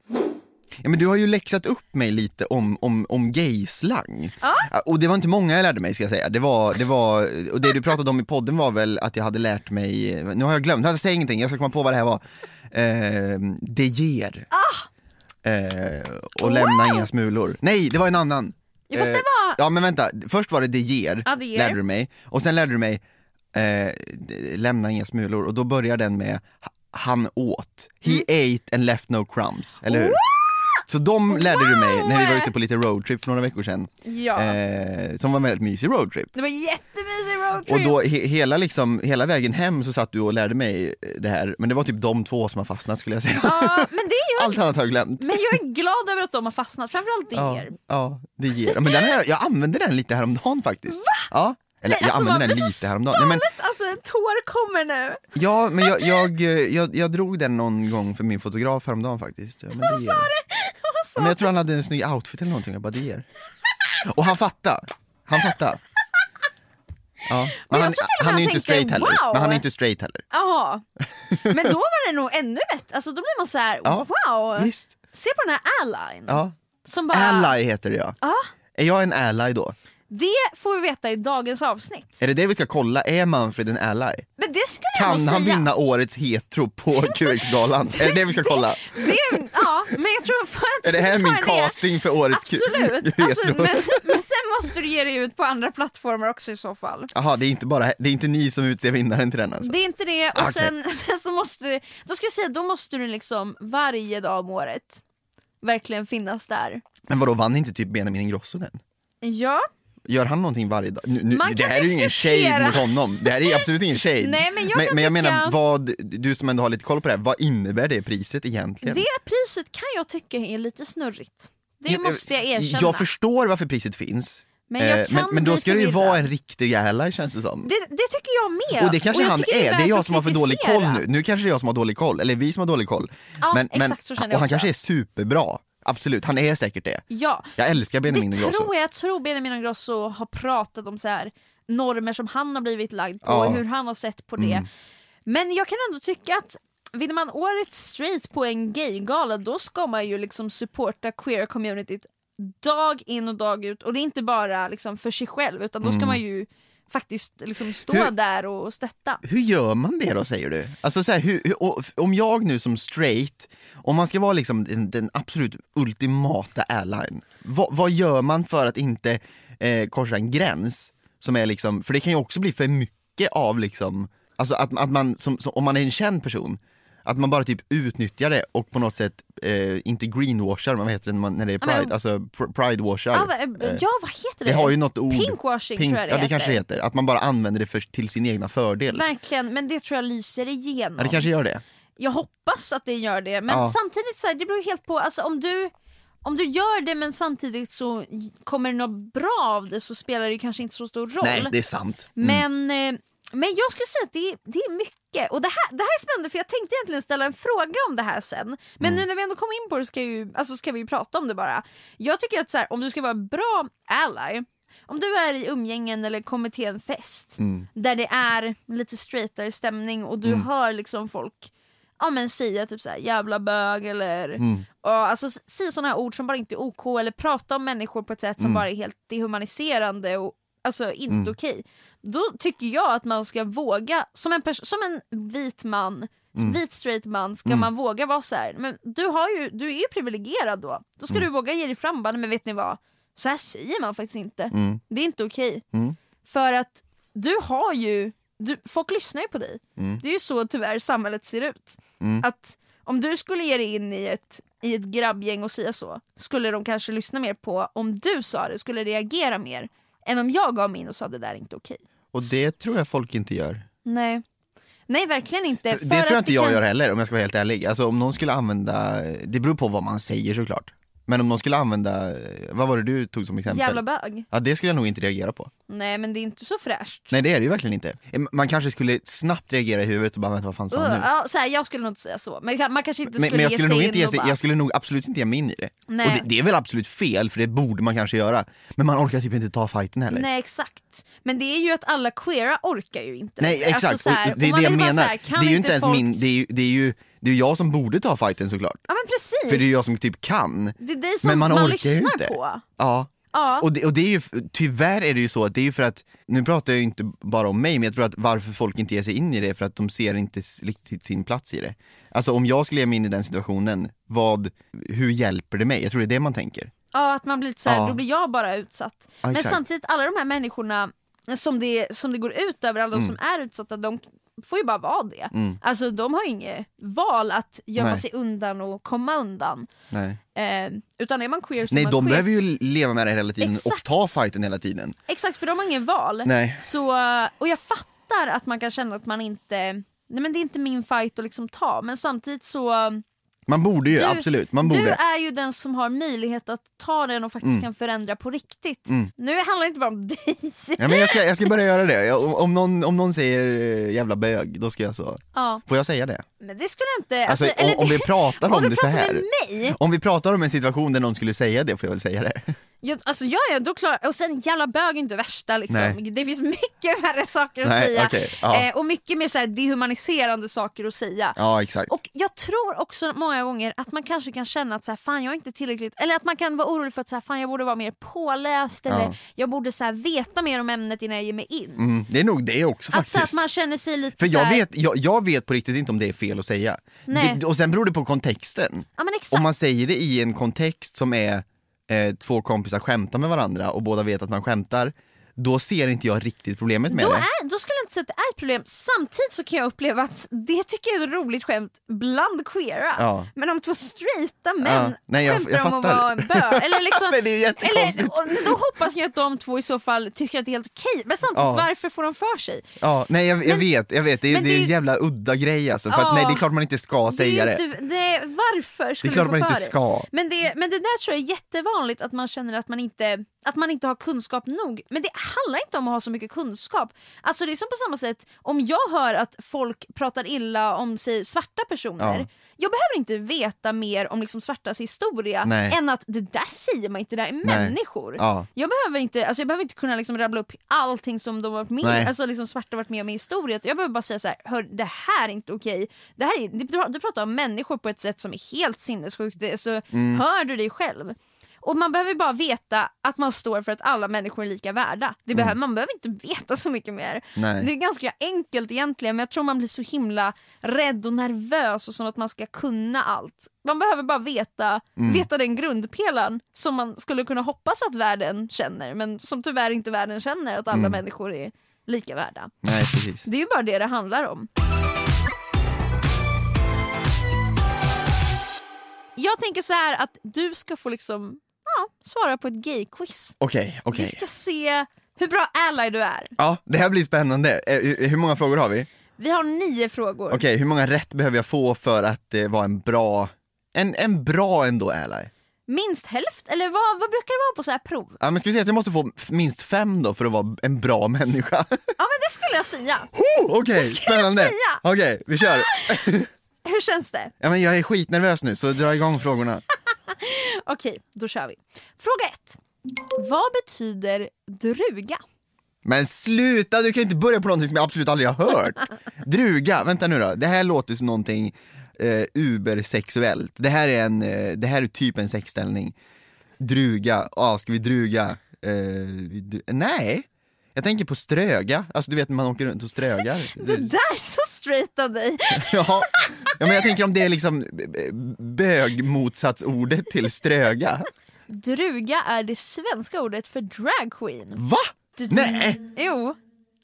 [SPEAKER 4] Ja, men du har ju läxat upp mig lite om, om, om gayslang. Ja, Och det var inte många jag lärde mig ska jag säga. Det, var, det, var, och det du pratade om i podden var väl att jag hade lärt mig, nu har jag glömt, jag säger ingenting, jag ska komma på vad det här var. Eh, det ger. Eh, och lämna inga smulor. Nej, det var en annan.
[SPEAKER 3] Ja, fast det
[SPEAKER 4] Eh,
[SPEAKER 3] var-
[SPEAKER 4] Ja men vänta, först var det det ger,
[SPEAKER 3] Ja, det ger.
[SPEAKER 4] lärde du mig. Och sen lärde du mig eh, d- lämna inga smulor och då börjar den med ha- han åt. He
[SPEAKER 3] Mm.
[SPEAKER 4] ate and left no crumbs, eller hur? Så de lärde du mig när vi var ute på lite roadtrip för några veckor sedan.
[SPEAKER 3] Ja.
[SPEAKER 4] Eh, som var en väldigt mysig roadtrip.
[SPEAKER 3] Det var jättemysig roadtrip.
[SPEAKER 4] Och då he- hela, liksom, hela vägen hem så satt du och lärde mig eh, det här, men det var typ de två som har fastnat skulle jag säga.
[SPEAKER 3] Ja, men, det är ju,
[SPEAKER 4] Allt annat har jag glömt.
[SPEAKER 3] men jag är glad över att de har fastnat, framförallt det.
[SPEAKER 4] Ja,
[SPEAKER 3] er.
[SPEAKER 4] ja, det ger. Men den har jag, jag använde den lite häromdagen faktiskt. Va? Ja, eller
[SPEAKER 3] Nej,
[SPEAKER 4] jag
[SPEAKER 3] alltså,
[SPEAKER 4] använde
[SPEAKER 3] man
[SPEAKER 4] den
[SPEAKER 3] blir så
[SPEAKER 4] lite häromdagen. Nej, men,
[SPEAKER 3] Galet, alltså en tår kommer nu.
[SPEAKER 4] ja, men jag, jag, eh, jag, jag drog den någon gång för min fotograf häromdagen faktiskt. Ja, men det ger.
[SPEAKER 3] Vad sa
[SPEAKER 4] Men jag tror han hade en snygg outfit eller någonting, jag bara det ger. Och han fattar. Han fattar. Ja. Men
[SPEAKER 3] jag tror
[SPEAKER 4] han,
[SPEAKER 3] till och med
[SPEAKER 4] han är
[SPEAKER 3] han
[SPEAKER 4] ju inte
[SPEAKER 3] tänkte,
[SPEAKER 4] straight heller.
[SPEAKER 3] wow.
[SPEAKER 4] Men han är inte straight heller.
[SPEAKER 3] Jaha. Men då var det nog ännu bättre. Alltså, då blir man så här,
[SPEAKER 4] Ja,
[SPEAKER 3] wow.
[SPEAKER 4] visst.
[SPEAKER 3] Se på den här allyn.
[SPEAKER 4] Ja.
[SPEAKER 3] Som bara,
[SPEAKER 4] Ally heter jag. Är jag en ally då?
[SPEAKER 3] Det får vi veta i dagens avsnitt.
[SPEAKER 4] Är det det vi ska kolla? Är Manfred en ally?
[SPEAKER 3] Men det skulle jag
[SPEAKER 4] Eh, Kan
[SPEAKER 3] nog
[SPEAKER 4] han
[SPEAKER 3] säga.
[SPEAKER 4] vinna årets hetero på QX-galan? är det det vi ska kolla?
[SPEAKER 3] Det är, ja, men jag tror för att
[SPEAKER 4] Är det här min
[SPEAKER 3] göra
[SPEAKER 4] casting för årets Q-
[SPEAKER 3] Absolut.
[SPEAKER 4] hetero?
[SPEAKER 3] Alltså, men, men sen måste du ge dig ut på andra plattformar också i så fall.
[SPEAKER 4] Jaha, det är inte bara det är inte ni som utser vinnaren till den alltså?
[SPEAKER 3] Det är inte det. Och
[SPEAKER 4] Okej.
[SPEAKER 3] sen, sen så måste, då ska jag säga, då måste du liksom varje dag om året verkligen finnas där.
[SPEAKER 4] Men vadå, vann inte typ Benjamin Ingrosso den?
[SPEAKER 3] Ja.
[SPEAKER 4] Gör han någonting varje dag? Nu, nu,
[SPEAKER 3] Man
[SPEAKER 4] det
[SPEAKER 3] kan
[SPEAKER 4] här är ju ingen
[SPEAKER 3] diskutera.
[SPEAKER 4] shade mot honom. Det här är absolut ingen shade.
[SPEAKER 3] Nej, men jag
[SPEAKER 4] men,
[SPEAKER 3] kan
[SPEAKER 4] men jag
[SPEAKER 3] tycka-
[SPEAKER 4] menar, vad, du som ändå har lite koll på det här, vad innebär det priset egentligen?
[SPEAKER 3] Det priset kan jag tycka är lite snurrigt. Det måste jag erkänna.
[SPEAKER 4] eh, Jag förstår varför priset finns.
[SPEAKER 3] Men jag
[SPEAKER 4] Eh,
[SPEAKER 3] kan
[SPEAKER 4] men, men då
[SPEAKER 3] bli
[SPEAKER 4] ska det ju
[SPEAKER 3] förvirrad.
[SPEAKER 4] vara en riktig ally känns det som.
[SPEAKER 3] det, det tycker jag med.
[SPEAKER 4] Och det kanske
[SPEAKER 3] jag
[SPEAKER 4] han
[SPEAKER 3] tycker
[SPEAKER 4] är, det är
[SPEAKER 3] värt
[SPEAKER 4] jag
[SPEAKER 3] att
[SPEAKER 4] som har för dålig koll
[SPEAKER 3] kritisera.
[SPEAKER 4] nu. Nu kanske det är jag som har dålig koll, eller vi som har dålig koll.
[SPEAKER 3] Ja,
[SPEAKER 4] men,
[SPEAKER 3] exakt
[SPEAKER 4] men,
[SPEAKER 3] så känner jag
[SPEAKER 4] och han
[SPEAKER 3] också.
[SPEAKER 4] kanske är superbra, absolut, han är säkert det.
[SPEAKER 3] Ja,
[SPEAKER 4] Jag älskar Benjamin
[SPEAKER 3] det
[SPEAKER 4] Ingrosso.
[SPEAKER 3] tror jag. Jag tror Benjamin Ingrosso har pratat om så här normer som han har blivit lagd på
[SPEAKER 4] Ja. Mm.
[SPEAKER 3] och hur han har sett på det. Men jag kan ändå tycka att vinner man årets straight på en gaygala då ska man ju liksom supporta queer-communityt dag in och dag ut och det är inte bara liksom för sig själv utan då ska man ju faktiskt liksom stå
[SPEAKER 4] Mm. Hur-
[SPEAKER 3] där och stötta.
[SPEAKER 4] Hur gör man det då säger du? Alltså så här, hur, hur, och- om jag nu som straight, om man ska vara liksom den, den absolut ultimata ally, vad, vad gör man för att inte eh, korsa en gräns? Som är liksom, för det kan ju också bli för mycket av liksom, alltså att, att man, som, som, om man är en känd person, att man bara typ utnyttjar det och på något sätt, eh, inte greenwashar, men vad heter det när, man, när det är
[SPEAKER 3] Ja, men-
[SPEAKER 4] pride, alltså pr- pridewashar.
[SPEAKER 3] Ja, va- eh,
[SPEAKER 4] Eh,
[SPEAKER 3] ja, vad heter det?
[SPEAKER 4] det har ju något ord.
[SPEAKER 3] Pinkwashing tror jag det
[SPEAKER 4] ja, det
[SPEAKER 3] heter.
[SPEAKER 4] kanske det heter. Att man bara använder det för, till sin egna fördel.
[SPEAKER 3] Verkligen, men det tror jag lyser igenom.
[SPEAKER 4] Ja, det kanske gör det.
[SPEAKER 3] Jag hoppas att det gör det, men
[SPEAKER 4] Ja.
[SPEAKER 3] samtidigt så här, det beror ju helt på, alltså om du om du gör det men samtidigt så kommer det något bra av det så spelar det ju kanske inte så stor roll.
[SPEAKER 4] Nej, det mm. är sant.
[SPEAKER 3] Men, eh, men jag skulle säga att det är, det är mycket. Och det här, det här är spännande för jag tänkte egentligen ställa en fråga om det här sen. Men
[SPEAKER 4] Mm.
[SPEAKER 3] nu när vi ändå kom in på det ska, ju, alltså ska vi ju prata om det bara. Jag tycker att så här, om du ska vara en bra ally, om du är i umgängen eller kommer till en fest
[SPEAKER 4] Mm.
[SPEAKER 3] där det är lite straightare stämning och du hör liksom folk ja, men säga typ så här, jävla bög eller och, alltså, s- säga sådana här ord som bara inte är OK eller prata om människor på ett sätt som bara är helt dehumaniserande och alltså inte okej. Då tycker jag att man ska våga, som en, pers- som en vit man, som vit straight man ska man våga vara så här. men du, har ju, du är ju privilegierad då, då ska du våga ge dig fram bara, "Nej, men vet ni vad, så här säger man faktiskt inte. Det är inte okej. För att du har ju, du, folk lyssnar ju på dig.
[SPEAKER 4] Mm.
[SPEAKER 3] Det är ju så tyvärr samhället ser ut. Att om du skulle ge dig in i ett, i ett grabbgäng och säga så, skulle de kanske lyssna mer på om du sa det, skulle reagera mer än om jag gav mig in och sa det där är inte okej.
[SPEAKER 4] Och det tror jag folk inte gör.
[SPEAKER 3] Nej. Nej verkligen inte. Eh, För
[SPEAKER 4] det tror
[SPEAKER 3] att
[SPEAKER 4] jag inte jag
[SPEAKER 3] kan-
[SPEAKER 4] gör heller om jag ska vara helt ärlig. Alltså om någon skulle använda, det beror på vad man säger såklart. Men om någon skulle använda, eh, vad var det du tog som exempel?
[SPEAKER 3] Jävla bög.
[SPEAKER 4] Ja det skulle jag nog inte reagera på.
[SPEAKER 3] Nej men det är inte så fräscht.
[SPEAKER 4] Nej det är det ju verkligen inte. Eh, Man kanske skulle snabbt reagera i huvudet och bara vänta vad fan sa han
[SPEAKER 3] Uh,
[SPEAKER 4] nu?
[SPEAKER 3] ja, så här, jag skulle nog inte säga så, men kan- man kanske inte
[SPEAKER 4] Men,
[SPEAKER 3] skulle,
[SPEAKER 4] men jag skulle
[SPEAKER 3] ge sig
[SPEAKER 4] nog
[SPEAKER 3] in
[SPEAKER 4] inte ge sig,
[SPEAKER 3] och bara,
[SPEAKER 4] jag skulle nog absolut inte ge mig in i det.
[SPEAKER 3] Nej.
[SPEAKER 4] Och det, det är väl absolut fel för det borde man kanske göra. Men man orkar typ inte ta fighten heller.
[SPEAKER 3] Nej exakt, men det är ju att alla queera orkar ju inte.
[SPEAKER 4] Nej
[SPEAKER 3] längre.
[SPEAKER 4] exakt,
[SPEAKER 3] Alltså, så här,
[SPEAKER 4] och det är
[SPEAKER 3] och man
[SPEAKER 4] det jag
[SPEAKER 3] vill bara så
[SPEAKER 4] menar.
[SPEAKER 3] här, kan
[SPEAKER 4] det är ju inte ens
[SPEAKER 3] folk...
[SPEAKER 4] min, det är ju, det är ju det är ju jag som borde ta fighten såklart.
[SPEAKER 3] Ja men precis,
[SPEAKER 4] För det är ju jag som typ kan.
[SPEAKER 3] det är dig som
[SPEAKER 4] men man
[SPEAKER 3] man,
[SPEAKER 4] orkar ju
[SPEAKER 3] lyssnar
[SPEAKER 4] inte.
[SPEAKER 3] på.
[SPEAKER 4] Ja.
[SPEAKER 3] Ja.
[SPEAKER 4] Och, det, och det är ju, tyvärr är det ju så att det är ju för att, nu pratar jag ju inte bara om mig, men jag tror att varför folk inte ger sig in i det är för att de ser inte s- riktigt sin plats i det. Alltså om jag skulle ge mig in i den situationen, vad, hur hjälper det mig? Jag tror det är det man tänker.
[SPEAKER 3] Ja, att man blir lite så här,
[SPEAKER 4] Ja.
[SPEAKER 3] då blir jag bara utsatt. Men
[SPEAKER 4] exakt.
[SPEAKER 3] samtidigt, alla de här människorna som det, som det går ut över, alla de
[SPEAKER 4] Mm.
[SPEAKER 3] som är utsatta, de får ju bara vara det. Alltså de har ju inget val att gömma
[SPEAKER 4] Nej.
[SPEAKER 3] sig undan och komma undan.
[SPEAKER 4] Nej,
[SPEAKER 3] Eh, utan är man queer så
[SPEAKER 4] Nej
[SPEAKER 3] är man
[SPEAKER 4] de
[SPEAKER 3] queer.
[SPEAKER 4] behöver ju leva med det hela tiden och
[SPEAKER 3] Exakt.
[SPEAKER 4] ta fighten hela tiden.
[SPEAKER 3] Exakt, för de har inget val.
[SPEAKER 4] Nej.
[SPEAKER 3] Så, eh, och jag fattar att man kan känna att man inte, nej men det är inte min fight att liksom ta, men samtidigt så eh,
[SPEAKER 4] Man borde ju,
[SPEAKER 3] Du-
[SPEAKER 4] absolut,
[SPEAKER 3] Du
[SPEAKER 4] man borde. Mm.
[SPEAKER 3] är ju den som har möjlighet att ta den och faktiskt kan förändra på riktigt. Nu handlar det inte bara om dig.
[SPEAKER 4] Ja, men jag, ska, jag ska börja göra det. Jag, om- om, någon, om någon säger eh, jävla bög, då ska jag så.
[SPEAKER 3] Ja,
[SPEAKER 4] Får jag säga det?
[SPEAKER 3] men det skulle jag inte...
[SPEAKER 4] Alltså, om,
[SPEAKER 3] eller
[SPEAKER 4] om vi
[SPEAKER 3] det-
[SPEAKER 4] pratar om,
[SPEAKER 3] om du
[SPEAKER 4] det så
[SPEAKER 3] pratar
[SPEAKER 4] här.
[SPEAKER 3] med mig?
[SPEAKER 4] Om vi pratar om en situation där någon skulle säga det får jag väl säga det.
[SPEAKER 3] Ja, alltså ja, ja, då klar, och sen jävla bög är inte värsta liksom.
[SPEAKER 4] Nej.
[SPEAKER 3] Det finns mycket värre saker att
[SPEAKER 4] Nej,
[SPEAKER 3] säga.
[SPEAKER 4] okej, ja.
[SPEAKER 3] eh, och mycket mer så här dehumaniserande saker att säga.
[SPEAKER 4] Ja exakt.
[SPEAKER 3] Och jag tror också många gånger att man kanske kan känna att så här, fan jag är inte tillräckligt, eller att man kan vara orolig för att så här, fan jag borde vara mer påläst eller jag borde så här, veta mer om ämnet innan jag ger mig in.
[SPEAKER 4] Mm, det är nog det
[SPEAKER 3] Alltså,
[SPEAKER 4] också
[SPEAKER 3] Att,
[SPEAKER 4] faktiskt.
[SPEAKER 3] så här, att man känner sig lite
[SPEAKER 4] För
[SPEAKER 3] så
[SPEAKER 4] jag
[SPEAKER 3] här,
[SPEAKER 4] vet, jag, jag vet på riktigt inte om det är fel att säga.
[SPEAKER 3] Nej.
[SPEAKER 4] Det, och sen beror det på kontexten.
[SPEAKER 3] Ja men exakt.
[SPEAKER 4] Om man säger det i en kontext som är eh, två kompisar skämtar med varandra och båda vet att man skämtar, då ser inte jag riktigt problemet med
[SPEAKER 3] Då,
[SPEAKER 4] det.
[SPEAKER 3] är, då skulle jag inte säga att det är ett problem. Samtidigt så kan jag uppleva att det tycker jag är ett roligt skämt bland queera.
[SPEAKER 4] Ja.
[SPEAKER 3] Men om två straighta män
[SPEAKER 4] Ja. Nej, jag-
[SPEAKER 3] skämtar
[SPEAKER 4] jag
[SPEAKER 3] om att
[SPEAKER 4] fattar.
[SPEAKER 3] vara en bög. Eller liksom,
[SPEAKER 4] Men det är ju jättekonstigt.
[SPEAKER 3] Eller, och, men då hoppas jag att de två i så fall tycker att det är helt okej. Men samtidigt,
[SPEAKER 4] Ja.
[SPEAKER 3] varför får de för sig?
[SPEAKER 4] Ja, nej jag, jag
[SPEAKER 3] Men-
[SPEAKER 4] vet, jag vet. Det, är-
[SPEAKER 3] men
[SPEAKER 4] det är
[SPEAKER 3] det
[SPEAKER 4] en
[SPEAKER 3] är-
[SPEAKER 4] jävla udda grej alltså. För
[SPEAKER 3] Ja.
[SPEAKER 4] att, nej det är klart man inte ska säga
[SPEAKER 3] det är
[SPEAKER 4] det.
[SPEAKER 3] inte, det, varför skulle
[SPEAKER 4] klart
[SPEAKER 3] du få
[SPEAKER 4] man
[SPEAKER 3] för
[SPEAKER 4] inte
[SPEAKER 3] dig?
[SPEAKER 4] ska.
[SPEAKER 3] Men det, men det där tror jag är jättevanligt att man känner att man, inte, att man inte har kunskap nog. Men det handlar inte om att ha så mycket kunskap. Alltså det är som på samma sätt om jag hör att folk pratar illa om sig svarta personer.
[SPEAKER 4] Ja.
[SPEAKER 3] Jag behöver inte veta mer om liksom svartas historia
[SPEAKER 4] Nej.
[SPEAKER 3] än att det där säger man inte, det där är människor.
[SPEAKER 4] Ja.
[SPEAKER 3] Jag, behöver inte, alltså jag behöver inte kunna liksom rabbla upp allting som de har varit med
[SPEAKER 4] Nej.
[SPEAKER 3] alltså liksom svarta har varit med om i historien. Jag behöver bara säga så här, hör det här är inte okej. Det här är, du, du pratar om människor på ett sätt som är helt sinnessjukt, det, så hör du dig själv. Och man behöver bara veta att man står för att alla människor är lika värda. Det behöver, Man behöver inte veta så mycket mer.
[SPEAKER 4] Nej.
[SPEAKER 3] Det är ganska enkelt egentligen men jag tror man blir så himla rädd och nervös och som att man ska kunna allt. Man behöver bara veta, veta den grundpelaren som man skulle kunna hoppas att världen känner men som tyvärr inte världen känner att alla människor är lika värda.
[SPEAKER 4] Nej, precis.
[SPEAKER 3] Det är ju bara det det handlar om. Jag tänker så här att du ska få liksom, ja, svara på ett gay-quiz.
[SPEAKER 4] Okej, okej.
[SPEAKER 3] Vi ska se hur bra ally du är.
[SPEAKER 4] Ja, det här blir spännande. Eh, hur- Hur många frågor har vi? Okej,
[SPEAKER 3] Vi har nio frågor.
[SPEAKER 4] hur många rätt behöver jag få för att eh, vara en bra, en, en bra ändå ally?
[SPEAKER 3] Minst hälft? Eller vad, vad brukar det vara på så här prov?
[SPEAKER 4] Ja, men ska vi säga att jag måste få f- minst fem då för att vara en bra människa?
[SPEAKER 3] Ja men det skulle jag säga.
[SPEAKER 4] Oh, Okej,
[SPEAKER 3] skulle jag
[SPEAKER 4] spännande!
[SPEAKER 3] säga.
[SPEAKER 4] Okej, vi kör!
[SPEAKER 3] Hur känns det?
[SPEAKER 4] Ja, men jag är skitnervös nu, så dra igång frågorna.
[SPEAKER 3] Okej, då kör vi. Fråga ett. Vad betyder druga?
[SPEAKER 4] Men sluta, du kan inte börja på någonting som jag absolut aldrig har hört. Druga, vänta nu då. Det här låter som någonting eh, ubersexuellt. Det här är en, eh, det här är typ en sexställning. Druga, ja ska vi druga? Eh, vi dru- Nej, jag tänker på ströga, alltså du vet när man åker runt och strögar.
[SPEAKER 3] Det där är så straight av dig.
[SPEAKER 4] ja. ja, men jag tänker om det är liksom b- b- bögmotsatsordet till ströga.
[SPEAKER 3] Druga är det svenska ordet för drag queen.
[SPEAKER 4] Va? Nej,
[SPEAKER 3] Jo,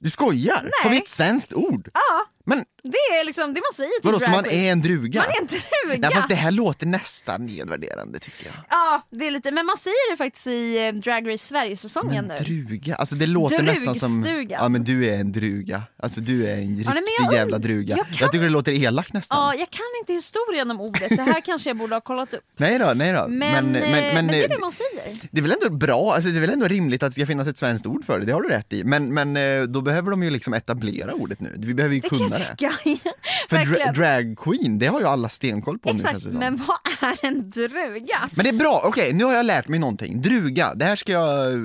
[SPEAKER 4] du skojar? Har vi ett svenskt ord? Ja. Men
[SPEAKER 3] det är liksom det man säger till
[SPEAKER 4] vadå, så
[SPEAKER 3] drag
[SPEAKER 4] man
[SPEAKER 3] queen.
[SPEAKER 4] är en druga?
[SPEAKER 3] Man är en druga.
[SPEAKER 4] Nej, fast det här låter nästan nedvärderande tycker jag.
[SPEAKER 3] Ja, det är lite, men man säger det faktiskt i eh, Drag Race Sverige-säsongen nu.
[SPEAKER 4] Druga, alltså det låter nästan som...
[SPEAKER 3] Drugstugan.
[SPEAKER 4] Ja men du är en druga. Alltså du är en riktig
[SPEAKER 3] men jag und-
[SPEAKER 4] jävla druga.
[SPEAKER 3] jag
[SPEAKER 4] Jag,
[SPEAKER 3] kan-
[SPEAKER 4] tycker det låter elakt nästan.
[SPEAKER 3] Ja, jag kan inte historien om ordet. Det här kanske jag borde ha kollat upp.
[SPEAKER 4] Nej då, nej då.
[SPEAKER 3] Men, men, men,
[SPEAKER 4] men,
[SPEAKER 3] det är
[SPEAKER 4] eh,
[SPEAKER 3] det man säger.
[SPEAKER 4] det är väl ändå bra, alltså det är väl ändå rimligt att det ska finnas ett svenskt ord för det, det har du rätt i. Men, men eh, då behöver de ju liksom etablera ordet nu, vi behöver ju
[SPEAKER 3] Det kan
[SPEAKER 4] kunna
[SPEAKER 3] jag
[SPEAKER 4] det.
[SPEAKER 3] tycka.
[SPEAKER 4] För dra-
[SPEAKER 3] Verkligen.
[SPEAKER 4] drag queen, det har ju alla stenkoll på nu
[SPEAKER 3] Exakt,
[SPEAKER 4] känns det som.
[SPEAKER 3] men vad är en druga?
[SPEAKER 4] Men det är bra, okej nu har jag lärt mig någonting. Druga, det här ska jag eh,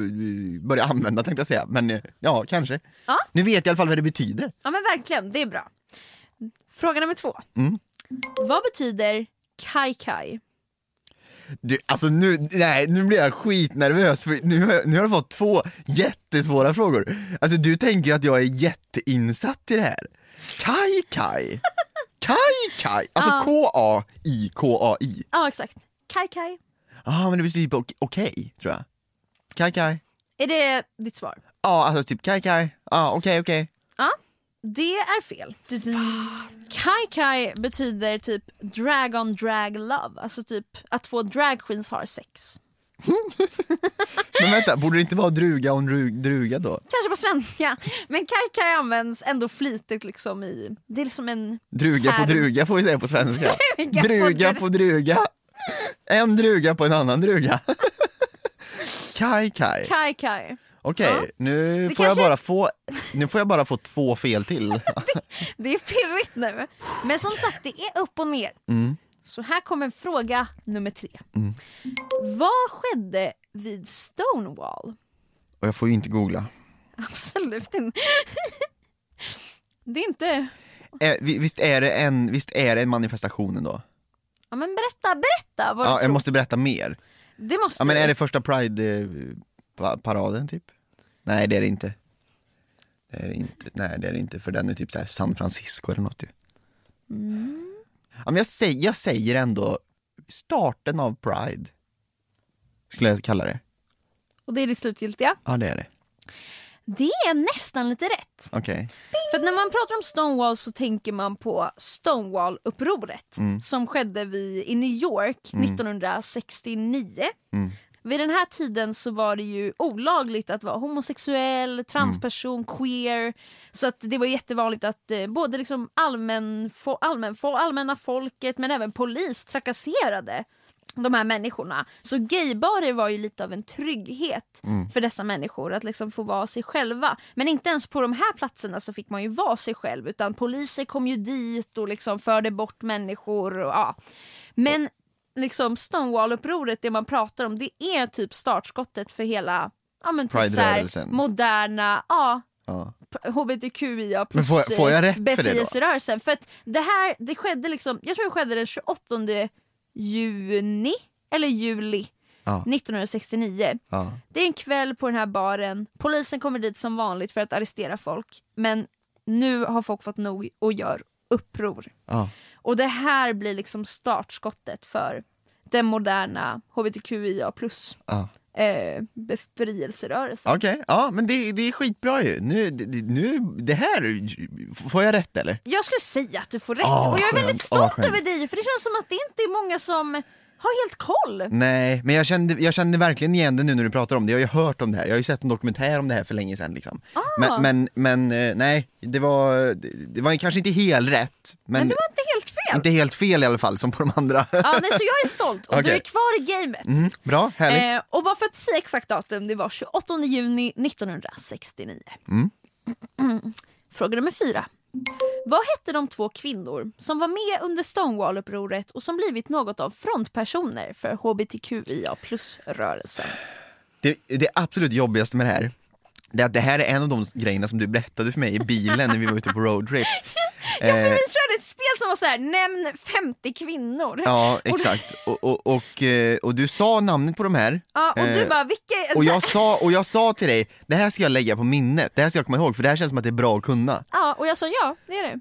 [SPEAKER 4] börja använda tänkte jag säga. Men eh, ja, kanske.
[SPEAKER 3] Ja.
[SPEAKER 4] Nu vet jag i alla fall vad det betyder.
[SPEAKER 3] Ja men verkligen, det är bra. Fråga nummer två.
[SPEAKER 4] Mm.
[SPEAKER 3] Vad betyder kai kai?
[SPEAKER 4] Du, alltså nu, nej, nu blir jag skitnervös för nu har, jag, nu har jag fått två jättesvåra frågor. Alltså du tänker ju att jag är jätteinsatt i det här. Kai Kai. Kai Kai. Alltså K-A-I-K-A-I.
[SPEAKER 3] Ja exakt, kai kai.
[SPEAKER 4] Ja, ah, men det betyder typ ok- okej, tror jag. Kai Kai.
[SPEAKER 3] Är det ditt svar?
[SPEAKER 4] Ja, alltså typ Kai Kai. Ja, okej, okej.
[SPEAKER 3] Ja, det är fel. Kai kai betyder typ drag on drag love, alltså typ att två drag queens har sex.
[SPEAKER 4] Men vänta, borde det inte vara druga och en ru- druga då?
[SPEAKER 3] Kanske på svenska, men kai kai används ändå flitigt liksom i, det är liksom en
[SPEAKER 4] Druga på
[SPEAKER 3] term.
[SPEAKER 4] druga får vi säga på svenska.
[SPEAKER 3] Druga på
[SPEAKER 4] druga
[SPEAKER 3] dru-
[SPEAKER 4] på druga. En druga på en annan druga. Kaj kaj.
[SPEAKER 3] Kai kai.
[SPEAKER 4] Okej, nu,
[SPEAKER 3] Det
[SPEAKER 4] får jag
[SPEAKER 3] kanske-
[SPEAKER 4] bara få, nu får jag bara få två fel till.
[SPEAKER 3] Det är pirrigt nu. Men som sagt, det är upp och ner.
[SPEAKER 4] Mm.
[SPEAKER 3] Så här kommer fråga nummer tre. Vad skedde vid Stonewall?
[SPEAKER 4] Och jag får ju inte googla.
[SPEAKER 3] Absolut inte. Det är inte...
[SPEAKER 4] Eh, vi- visst, är det en, visst är det en manifestation ändå?
[SPEAKER 3] Ja, men berätta, berätta vad du
[SPEAKER 4] Ja,
[SPEAKER 3] tror.
[SPEAKER 4] jag måste berätta mer.
[SPEAKER 3] Det måste
[SPEAKER 4] Ja, men
[SPEAKER 3] du.
[SPEAKER 4] är det första Pride-paraden typ? Nej, det är det inte. Det är det inte. Nej, det är det inte, för den är typ så här San Francisco eller något ju. Ja, men jag, säger, jag säger ändå starten av Pride, skulle jag kalla det.
[SPEAKER 3] Och det är det slutgiltiga.
[SPEAKER 4] Ja, det är det.
[SPEAKER 3] Det är nästan lite rätt.
[SPEAKER 4] Okej.
[SPEAKER 3] För att när man pratar om Stonewall så tänker man på Stonewall-upproret som skedde vid, i New York 1969. Vid den här tiden så var det ju olagligt att vara homosexuell, transperson, queer. Så att det var jättevanligt att eh, både liksom allmän, fo, allmän, fo, allmänna folket men även polis trakasserade de här människorna. Så gaybarer var ju lite av en trygghet för dessa människor att liksom få vara sig själva. Men inte ens på de här platserna så fick man ju vara sig själv utan poliser kom ju dit och liksom förde bort människor. Och, ja. Men liksom Stonewall-upproret, det man pratar om, det är typ startskottet för hela ja, men typ så här,
[SPEAKER 4] Pride-rörelsen.
[SPEAKER 3] moderna ja,
[SPEAKER 4] Ja.
[SPEAKER 3] p- hbtqia
[SPEAKER 4] Men får jag- får jag rätt för det då?
[SPEAKER 3] eh, befrielserörelsen. För att det här, det skedde liksom, jag tror det skedde den 28 juni eller juli
[SPEAKER 4] Ja.
[SPEAKER 3] 1969.
[SPEAKER 4] Ja.
[SPEAKER 3] Det är en kväll på den här baren. Polisen kommer dit som vanligt för att arrestera folk. Men nu har folk fått nog och gör uppror.
[SPEAKER 4] Ja.
[SPEAKER 3] Och det här blir liksom startskottet för den moderna hbtqia plus
[SPEAKER 4] Ja.
[SPEAKER 3] eh, befrielserörelsen.
[SPEAKER 4] Okej, ja men det, det är skitbra ju. Nu, det- nu, det här, får jag rätt eller?
[SPEAKER 3] Jag skulle säga att du får rätt
[SPEAKER 4] Ah,
[SPEAKER 3] och jag är
[SPEAKER 4] skönt.
[SPEAKER 3] väldigt
[SPEAKER 4] Ah,
[SPEAKER 3] stolt
[SPEAKER 4] skönt.
[SPEAKER 3] över dig för det känns som att det inte är många som har helt koll.
[SPEAKER 4] Nej, men jag kände, jag kände verkligen igen det nu när du pratar om det. Jag har ju hört om det här, jag har ju sett en dokumentär om det här för länge sedan. Liksom.
[SPEAKER 3] Ah.
[SPEAKER 4] Men, men, men eh, nej, det var, det var kanske inte helt rätt. Men,
[SPEAKER 3] Men det var inte helt fel.
[SPEAKER 4] inte helt fel i alla fall som på de andra.
[SPEAKER 3] Ja, nej, så jag är stolt och du
[SPEAKER 4] Okej.
[SPEAKER 3] är kvar i gamet.
[SPEAKER 4] Mm, bra, härligt.
[SPEAKER 3] Eh, och bara för att säga exakt datum, det var 28 juni 1969.
[SPEAKER 4] Mm.
[SPEAKER 3] Fråga nummer fyra. Vad hette de två kvinnor som var med under Stonewall-upproret och som blivit något av frontpersoner för hbtqia plus-rörelsen?
[SPEAKER 4] Det, det absolut jobbigaste med det här, det är att det här är en av de grejerna som du berättade för mig i bilen när vi var ute på roadtrip.
[SPEAKER 3] Ja, för
[SPEAKER 4] Eh,
[SPEAKER 3] vi körde ett spel som var så här: nämn 50 kvinnor.
[SPEAKER 4] Ja,
[SPEAKER 3] Och-
[SPEAKER 4] exakt. Och, och, och, eh, och du sa namnet på de här.
[SPEAKER 3] Ja, och du
[SPEAKER 4] Eh,
[SPEAKER 3] bara, vilka är...
[SPEAKER 4] och jag, sa, och jag sa till dig, det här ska jag lägga på minnet, det här ska jag komma ihåg för det här känns som att det är bra att kunna.
[SPEAKER 3] Ja, och jag sa ja, det är det.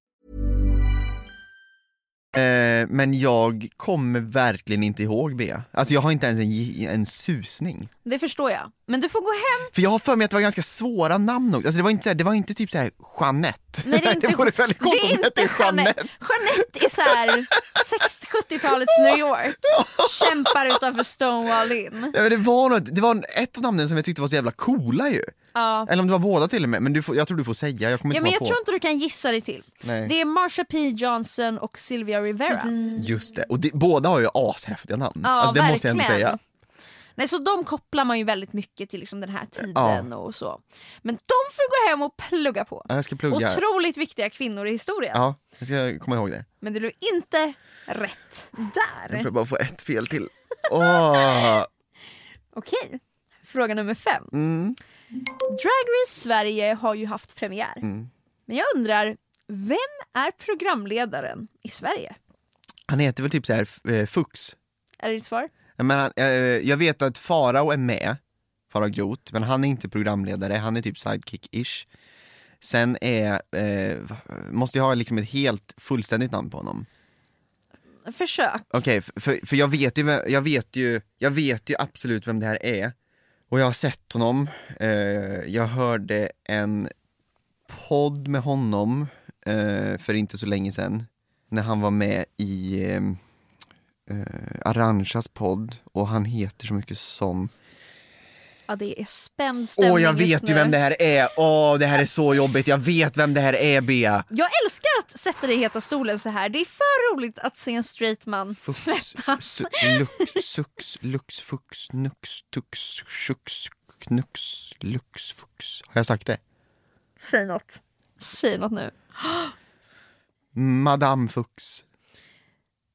[SPEAKER 4] Eh, men jag kommer verkligen inte ihåg Bea. Alltså jag har inte ens en, gi- en susning.
[SPEAKER 3] Det förstår jag. Men du får gå hem
[SPEAKER 4] För jag har för mig att det var ganska svåra namn också. Alltså det var inte, så här, det var inte typ såhär Jeanette.
[SPEAKER 3] Nej, det är inte,
[SPEAKER 4] det vore väldigt konstigt om det hette Jeanette.
[SPEAKER 3] Jeanette är så här 60-70-talets New York. Kämpar utanför Stonewall Inn.
[SPEAKER 4] Ja, men det var, något, det var ett av namnen som jag tyckte var så jävla coola ju.
[SPEAKER 3] Ja.
[SPEAKER 4] Eller om det var båda till och med, men du får, jag tror du får säga, jag kommer
[SPEAKER 3] Ja,
[SPEAKER 4] inte
[SPEAKER 3] men
[SPEAKER 4] komma
[SPEAKER 3] jag
[SPEAKER 4] på.
[SPEAKER 3] tror inte du kan gissa dig till.
[SPEAKER 4] Nej.
[SPEAKER 3] Det är Marsha P Johnson och Sylvia Rivera.
[SPEAKER 4] Just det, och det, båda har ju ashäftiga namn.
[SPEAKER 3] Ja,
[SPEAKER 4] alltså, det måste jag ändå
[SPEAKER 3] verkligen.
[SPEAKER 4] säga.
[SPEAKER 3] Nej, så de kopplar man ju väldigt mycket till liksom den här tiden och så. Men de får gå hem och plugga på.
[SPEAKER 4] Ja, jag ska plugga.
[SPEAKER 3] Otroligt viktiga kvinnor i historien.
[SPEAKER 4] Ja, jag ska komma ihåg det.
[SPEAKER 3] Men det blev inte rätt där.
[SPEAKER 4] Jag får bara få ett fel till. Åh,
[SPEAKER 3] Okej, fråga nummer fem.
[SPEAKER 4] Mm.
[SPEAKER 3] Drag Race Sverige har ju haft premiär.
[SPEAKER 4] Mm.
[SPEAKER 3] Men jag undrar, vem är programledaren i Sverige?
[SPEAKER 4] han heter väl typ så här f- eh, Fux.
[SPEAKER 3] Är det ditt svar?
[SPEAKER 4] Jag, menar, eh, jag vet att Farao är med, Farao Groth, men han är inte programledare, han är typ sidekick-ish. Sen är, eh, va- måste jag ha liksom ett helt fullständigt namn på honom.
[SPEAKER 3] Försök.
[SPEAKER 4] Okej, f- för, för jag, vet ju, vem- jag, vet ju, jag vet ju absolut vem det här är. Och jag har sett honom. Eh, jag hörde en podd med honom eh, för inte så länge sedan. När han var med i eh, eh, Arantxas podd och han heter så mycket som...
[SPEAKER 3] Ja, det är spänd stämning
[SPEAKER 4] Åh, jag
[SPEAKER 3] just
[SPEAKER 4] vet ju
[SPEAKER 3] nu.
[SPEAKER 4] vem det här är! Åh, det här är så jobbigt. Jag vet vem det här är, Bea.
[SPEAKER 3] Jag älskar att sätta dig i heta stolen så här. Det är för roligt att se en straight man
[SPEAKER 4] Fux,
[SPEAKER 3] svettas.
[SPEAKER 4] su- lux, sux, lux, fux, nux, tux, sjux, knux, lux, fux. Har jag sagt det?
[SPEAKER 3] Säg något. Säg något nu.
[SPEAKER 4] Madame Fux.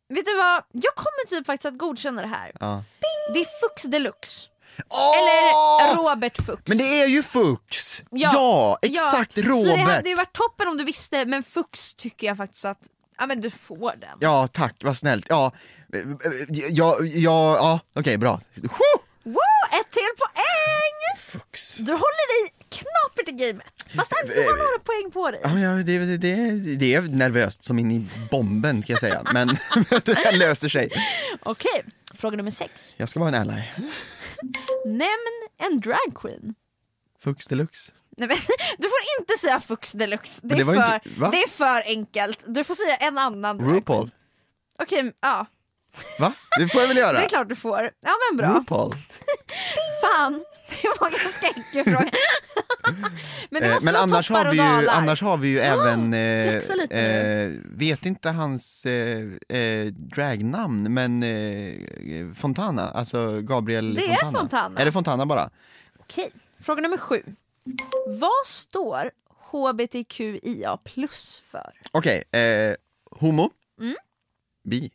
[SPEAKER 3] Vet du vad? Jag kommer typ faktiskt att godkänna det här.
[SPEAKER 4] Ja.
[SPEAKER 3] Det är fux deluxe.
[SPEAKER 4] Åh!
[SPEAKER 3] Eller Robert Fuchs.
[SPEAKER 4] Men det är ju Fuchs! Ja, exakt
[SPEAKER 3] Så det
[SPEAKER 4] Robert!
[SPEAKER 3] hade ju varit toppen om du visste, men Fuchs tycker jag faktiskt att ja, men du får den.
[SPEAKER 4] Ja tack, vad snällt. Ja, ja, ja, ja okej bra. Whew!
[SPEAKER 3] Wow, ett till poäng!
[SPEAKER 4] Fuchs.
[SPEAKER 3] Du håller dig knapert i gamet, fast ändå har du några poäng på dig.
[SPEAKER 4] eh, Ja, ja, det, det, det, det är nervöst som in i bomben kan jag säga, men det här löser sig.
[SPEAKER 3] Okej, fråga nummer sex.
[SPEAKER 4] Jag ska vara en ally.
[SPEAKER 3] Nämn en dragqueen.
[SPEAKER 4] Fuchs deluxe.
[SPEAKER 3] Nej, men, du får inte säga Fux Deluxe, det
[SPEAKER 4] Men
[SPEAKER 3] är,
[SPEAKER 4] det var ju
[SPEAKER 3] för,
[SPEAKER 4] inte- va?
[SPEAKER 3] det är för enkelt. Du får säga en annan. drag.
[SPEAKER 4] RuPaul.
[SPEAKER 3] Okej, ja.
[SPEAKER 4] Va? Det får jag väl göra?
[SPEAKER 3] Det är klart du får. Ja men bra.
[SPEAKER 4] Äh. RuPaul.
[SPEAKER 3] Fan, det var en ganska enkel fråga. men det
[SPEAKER 4] Eh,
[SPEAKER 3] måste
[SPEAKER 4] men
[SPEAKER 3] vara
[SPEAKER 4] annars
[SPEAKER 3] toppar
[SPEAKER 4] har,
[SPEAKER 3] och
[SPEAKER 4] vi ju,
[SPEAKER 3] dalar.
[SPEAKER 4] annars har vi ju även,
[SPEAKER 3] flexa lite
[SPEAKER 4] eh,
[SPEAKER 3] nu.
[SPEAKER 4] eh, vet inte hans eh, eh, dragnamn, men eh, Fontana, alltså Gabriel
[SPEAKER 3] Det är
[SPEAKER 4] Fontana.
[SPEAKER 3] Fontana.
[SPEAKER 4] Är det Fontana bara?
[SPEAKER 3] Okej, fråga nummer sju. Vad står hbtqia plus för?
[SPEAKER 4] Okej, eh, homo,
[SPEAKER 3] Mm.
[SPEAKER 4] bi,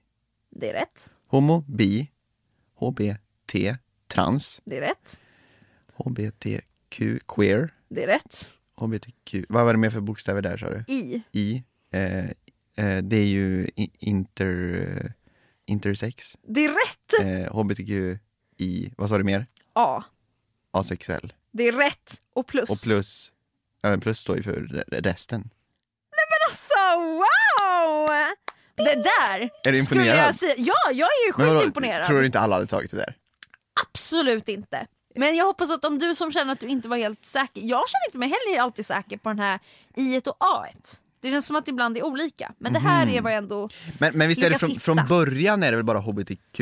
[SPEAKER 3] Det är rätt.
[SPEAKER 4] homo, bi, hbt, trans,
[SPEAKER 3] Det är rätt.
[SPEAKER 4] hbtq, queer,
[SPEAKER 3] Det är rätt.
[SPEAKER 4] hbtq, vad var det mer för bokstäver där sa du?
[SPEAKER 3] I.
[SPEAKER 4] I, eh, eh, det är ju i- inter, eh, intersex.
[SPEAKER 3] Det är rätt.
[SPEAKER 4] eh, hbtqi, vad sa du mer?
[SPEAKER 3] A.
[SPEAKER 4] Asexuell.
[SPEAKER 3] Det är rätt. Och plus.
[SPEAKER 4] Och plus, ja, men plus står ju för re- resten.
[SPEAKER 3] Alltså wow! Det där
[SPEAKER 4] Är du
[SPEAKER 3] skulle
[SPEAKER 4] imponerad?
[SPEAKER 3] jag säga. Ja, jag är ju
[SPEAKER 4] Men vadå,
[SPEAKER 3] sjukt imponerad.
[SPEAKER 4] Tror du inte alla hade tagit det där?
[SPEAKER 3] Absolut inte. Men jag hoppas att om du som känner att du inte var helt säker. Jag känner inte mig heller alltid säker på den här i och a Det känns som att det ibland är olika. Men det här är vad jag ändå...
[SPEAKER 4] Mhm. Men, men visst är det
[SPEAKER 3] Lyckas
[SPEAKER 4] från,
[SPEAKER 3] hitta.
[SPEAKER 4] från början är det väl bara hbtq?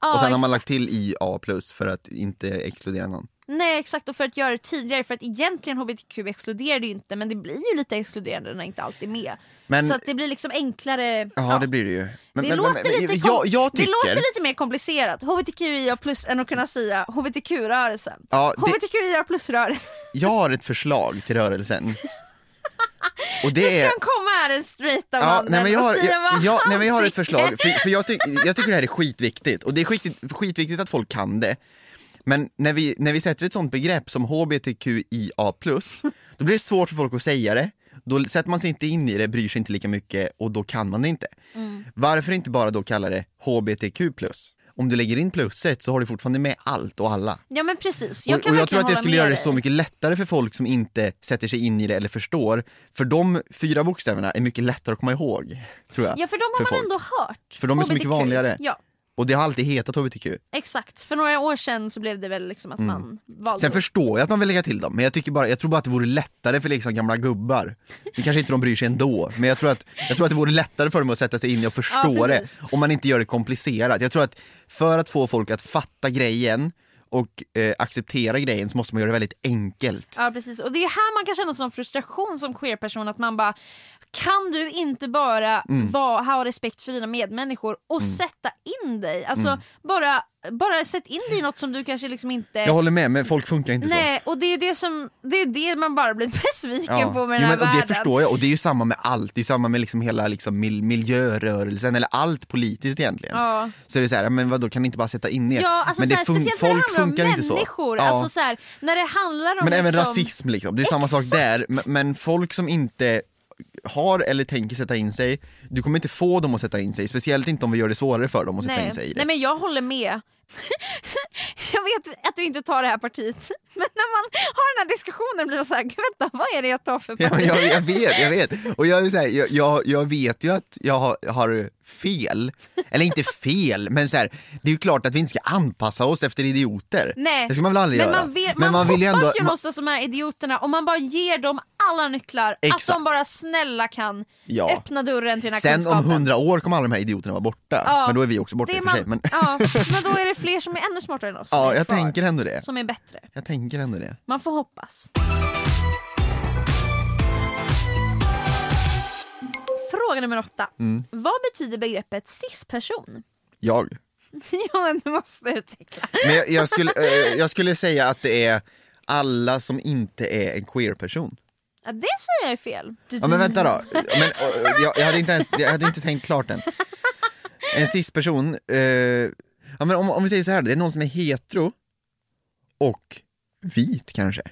[SPEAKER 3] Ja,
[SPEAKER 4] och sen har man lagt
[SPEAKER 3] exakt.
[SPEAKER 4] till ia plus för att inte exkludera någon.
[SPEAKER 3] Nej exakt och för att göra det tydligare för att egentligen hbtq exkluderar det ju inte men det blir ju lite exkluderande när inte allt är med.
[SPEAKER 4] Men-
[SPEAKER 3] Så att det blir liksom enklare.
[SPEAKER 4] Ja, det blir det ju. Men,
[SPEAKER 3] Det,
[SPEAKER 4] men,
[SPEAKER 3] låter
[SPEAKER 4] men, men,
[SPEAKER 3] lite kom-
[SPEAKER 4] jag, jag tycker,
[SPEAKER 3] det låter lite mer komplicerat, hbtqia plus än att kunna säga hbtq-rörelsen.
[SPEAKER 4] Ja, det-
[SPEAKER 3] hbtqia plus-rörelsen.
[SPEAKER 4] jag har ett förslag till rörelsen. Och det
[SPEAKER 3] Nu ska
[SPEAKER 4] är...
[SPEAKER 3] han komma här den straighta
[SPEAKER 4] Ja,
[SPEAKER 3] mannen
[SPEAKER 4] nej, men jag, har,
[SPEAKER 3] och säga
[SPEAKER 4] jag,
[SPEAKER 3] vad
[SPEAKER 4] jag,
[SPEAKER 3] han
[SPEAKER 4] nej, men jag har ett
[SPEAKER 3] tycker.
[SPEAKER 4] förslag, för, för jag, tyck, jag tycker det här är skitviktigt och det är skitviktigt, skitviktigt att folk kan det. Men när vi, när vi sätter ett sånt begrepp som hbtqia+, då blir det svårt för folk att säga det, då sätter man sig inte in i det, bryr sig inte lika mycket och då kan man det inte.
[SPEAKER 3] Mm.
[SPEAKER 4] Varför inte bara då kalla det hbtq+. Om du lägger in plusset så har du fortfarande med allt och alla.
[SPEAKER 3] Ja men precis, jag
[SPEAKER 4] och,
[SPEAKER 3] kan
[SPEAKER 4] och jag tror
[SPEAKER 3] verkligen
[SPEAKER 4] att det
[SPEAKER 3] hålla
[SPEAKER 4] skulle
[SPEAKER 3] med
[SPEAKER 4] göra det
[SPEAKER 3] dig.
[SPEAKER 4] så mycket lättare för folk som inte sätter sig in i det eller förstår. För de fyra bokstäverna är mycket lättare att komma ihåg. Tror jag.
[SPEAKER 3] Ja för de har man
[SPEAKER 4] folk.
[SPEAKER 3] ändå hört.
[SPEAKER 4] För de är så mycket
[SPEAKER 3] HBTQ.
[SPEAKER 4] vanligare.
[SPEAKER 3] Ja
[SPEAKER 4] Och det har alltid hetat hbtq.
[SPEAKER 3] exakt, för några år sedan så blev det väl liksom att man valde
[SPEAKER 4] Mm. Sen förstår jag att man vill lägga till dem, men jag, tycker bara, jag tror bara att det vore lättare för liksom gamla gubbar. Det kanske inte de bryr sig ändå, men jag tror, att, jag tror att det vore lättare för dem att sätta sig in i och förstå
[SPEAKER 3] Ja,
[SPEAKER 4] det.
[SPEAKER 3] precis.
[SPEAKER 4] Om man inte gör det komplicerat. Jag tror att för att få folk att fatta grejen och eh, acceptera grejen så måste man göra det väldigt enkelt.
[SPEAKER 3] Ja precis och det är här man kan känna sån frustration som queerperson att man bara kan du inte bara
[SPEAKER 4] Mm.
[SPEAKER 3] vara, ha respekt för dina medmänniskor och sätta in dig? Alltså
[SPEAKER 4] Mm.
[SPEAKER 3] bara, bara sätt in dig i något som du kanske liksom inte...
[SPEAKER 4] Jag håller med, men folk funkar inte så.
[SPEAKER 3] Nej och det är det som, det är det man bara blir besviken
[SPEAKER 4] Ja.
[SPEAKER 3] på med den
[SPEAKER 4] jo,
[SPEAKER 3] här
[SPEAKER 4] men, och
[SPEAKER 3] världen.
[SPEAKER 4] det förstår jag, och det är ju samma med allt. Det är ju samma med liksom hela liksom mil- miljörörelsen, eller allt politiskt egentligen.
[SPEAKER 3] Ja.
[SPEAKER 4] Så det är så här, men vadå, kan ni inte bara sätta in er?
[SPEAKER 3] Ja, alltså
[SPEAKER 4] men det
[SPEAKER 3] såhär, speciellt när det handlar om människor.
[SPEAKER 4] Ja.
[SPEAKER 3] Alltså, såhär, när det handlar om
[SPEAKER 4] men även
[SPEAKER 3] liksom,
[SPEAKER 4] rasism, liksom. det är samma
[SPEAKER 3] Exakt.
[SPEAKER 4] sak där. Men, men folk som inte har eller tänker sätta in sig, du kommer inte få dem att sätta in sig. Speciellt inte om vi gör det svårare för dem att sätta in sig i
[SPEAKER 3] nej,
[SPEAKER 4] det.
[SPEAKER 3] nej men jag håller med. jag vet att du inte tar det här partiet men när man har den här diskussionen blir man såhär, "Gud, vänta vad är det jag tar för
[SPEAKER 4] Ja,
[SPEAKER 3] parti?
[SPEAKER 4] men jag, jag vet, jag vet. Och jag, är så här, jag, jag, jag vet ju att jag har, har fel. Eller inte fel, men så här, det är ju klart att vi inte ska anpassa oss efter idioter.
[SPEAKER 3] Nej.
[SPEAKER 4] Det ska man väl aldrig
[SPEAKER 3] men
[SPEAKER 4] göra.
[SPEAKER 3] Man, vill, man,
[SPEAKER 4] vill ju
[SPEAKER 3] hoppas
[SPEAKER 4] ändå-
[SPEAKER 3] ju någonstans de här idioterna, om man bara ger dem alla nycklar, att
[SPEAKER 4] Exakt.
[SPEAKER 3] de bara snälla kan
[SPEAKER 4] Ja.
[SPEAKER 3] öppna dörren till den här
[SPEAKER 4] Sen
[SPEAKER 3] kunskapen.
[SPEAKER 4] om hundra år kommer alla de här idioterna vara borta.
[SPEAKER 3] Ja.
[SPEAKER 4] Men då är vi också borta
[SPEAKER 3] Det
[SPEAKER 4] i
[SPEAKER 3] är
[SPEAKER 4] och för sig. Men,
[SPEAKER 3] ja, men då är det fler som är ännu smartare än oss. som
[SPEAKER 4] ja,
[SPEAKER 3] är
[SPEAKER 4] jag
[SPEAKER 3] kvar,
[SPEAKER 4] tänker ändå det.
[SPEAKER 3] Som är bättre.
[SPEAKER 4] Jag tänker ändå det.
[SPEAKER 3] Man får hoppas. Fråga nummer åtta.
[SPEAKER 4] Mm.
[SPEAKER 3] Vad betyder begreppet cisperson?
[SPEAKER 4] Jag.
[SPEAKER 3] ja, men du måste utveckla.
[SPEAKER 4] Men jag, jag, skulle, eh, jag skulle säga att det är alla som inte är en queer-person.
[SPEAKER 3] Ja, det säger jag är fel.
[SPEAKER 4] Ja men vänta då, men, eh, jag, jag, hade inte ens, jag hade inte tänkt klart än. En cis-person, eh, ja, men om, om vi säger så här, det är någon som är hetero och vit kanske.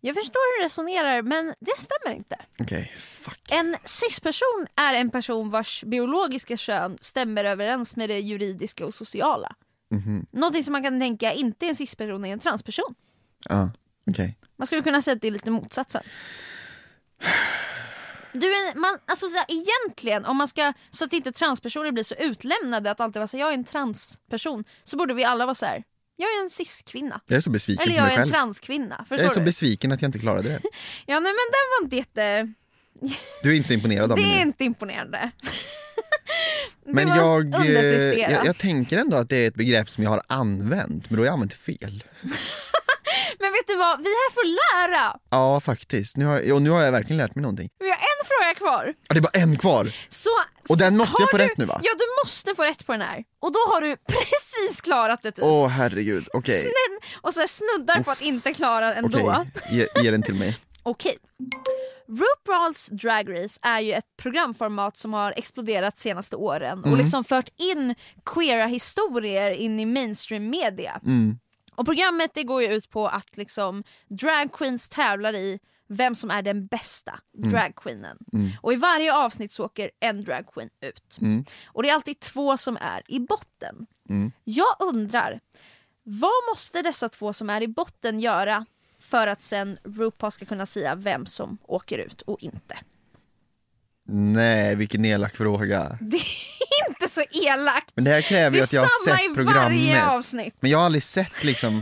[SPEAKER 3] Jag förstår hur du resonerar men det stämmer inte.
[SPEAKER 4] Okej, fuck.
[SPEAKER 3] En cisperson är en person vars biologiska kön stämmer överens med det juridiska och sociala.
[SPEAKER 4] Mhm.
[SPEAKER 3] Någonting som man kan tänka inte är en cisperson är en transperson.
[SPEAKER 4] Ja, okej.
[SPEAKER 3] Man skulle kunna säga att det är lite motsatsen. Du är, man, alltså så här, egentligen, om man ska, så att inte transpersoner blir så utlämnade att alltid vara så här, jag är en transperson, så borde vi alla vara så här. jag är en cis-kvinna.
[SPEAKER 4] Jag är så besviken
[SPEAKER 3] Eller
[SPEAKER 4] på
[SPEAKER 3] jag
[SPEAKER 4] mig
[SPEAKER 3] är en
[SPEAKER 4] själv.
[SPEAKER 3] transkvinna.
[SPEAKER 4] jag är
[SPEAKER 3] Förstår
[SPEAKER 4] så
[SPEAKER 3] du?
[SPEAKER 4] besviken att jag inte klarade det.
[SPEAKER 3] Ja, nej, men den var inte jätte...
[SPEAKER 4] Du är inte så imponerad av
[SPEAKER 3] Det
[SPEAKER 4] mig
[SPEAKER 3] är
[SPEAKER 4] nu.
[SPEAKER 3] inte imponerande. Det
[SPEAKER 4] Men
[SPEAKER 3] var
[SPEAKER 4] jag, eh,
[SPEAKER 3] underpresterat.
[SPEAKER 4] jag, jag tänker ändå att det är ett begrepp som jag har använt, men då har jag använt det fel.
[SPEAKER 3] Men vet du vad, vi är här för att lära.
[SPEAKER 4] Ja, faktiskt. Nu har, jag- och nu har jag verkligen lärt mig någonting.
[SPEAKER 3] Vi har en fråga kvar.
[SPEAKER 4] Ja, det är bara en kvar.
[SPEAKER 3] Så,
[SPEAKER 4] Och den måste
[SPEAKER 3] har
[SPEAKER 4] jag få
[SPEAKER 3] du,
[SPEAKER 4] rätt nu, va?
[SPEAKER 3] Ja, du måste få rätt på den här. Och då har du precis klarat det. Typ.
[SPEAKER 4] Åh, herregud. Okej.
[SPEAKER 3] Snäll, och så här snuddar på att inte klara ändå.
[SPEAKER 4] Okej, ge, ge den till mig.
[SPEAKER 3] Okej. RuPaul's Drag Race är ju ett programformat som har exploderat senaste åren
[SPEAKER 4] Mm.
[SPEAKER 3] och liksom fört in queera historier in i mainstream media.
[SPEAKER 4] Mm.
[SPEAKER 3] Och programmet det går ju ut på att liksom drag queens tävlar i vem som är den bästa
[SPEAKER 4] Mm.
[SPEAKER 3] dragqueenen. Och i varje avsnitt så åker en dragqueen ut.
[SPEAKER 4] Mm.
[SPEAKER 3] Och det är alltid två som är i botten. Jag undrar, vad måste dessa två som är i botten göra för att sen RuPaul ska kunna säga vem som åker ut och inte?
[SPEAKER 4] Nej, vilken elak fråga.
[SPEAKER 3] Det är inte så elakt!
[SPEAKER 4] Men det här kräver
[SPEAKER 3] Det
[SPEAKER 4] ju
[SPEAKER 3] är
[SPEAKER 4] att jag har
[SPEAKER 3] samma
[SPEAKER 4] sett
[SPEAKER 3] i varje
[SPEAKER 4] programmet.
[SPEAKER 3] avsnitt.
[SPEAKER 4] Men jag har aldrig sett liksom...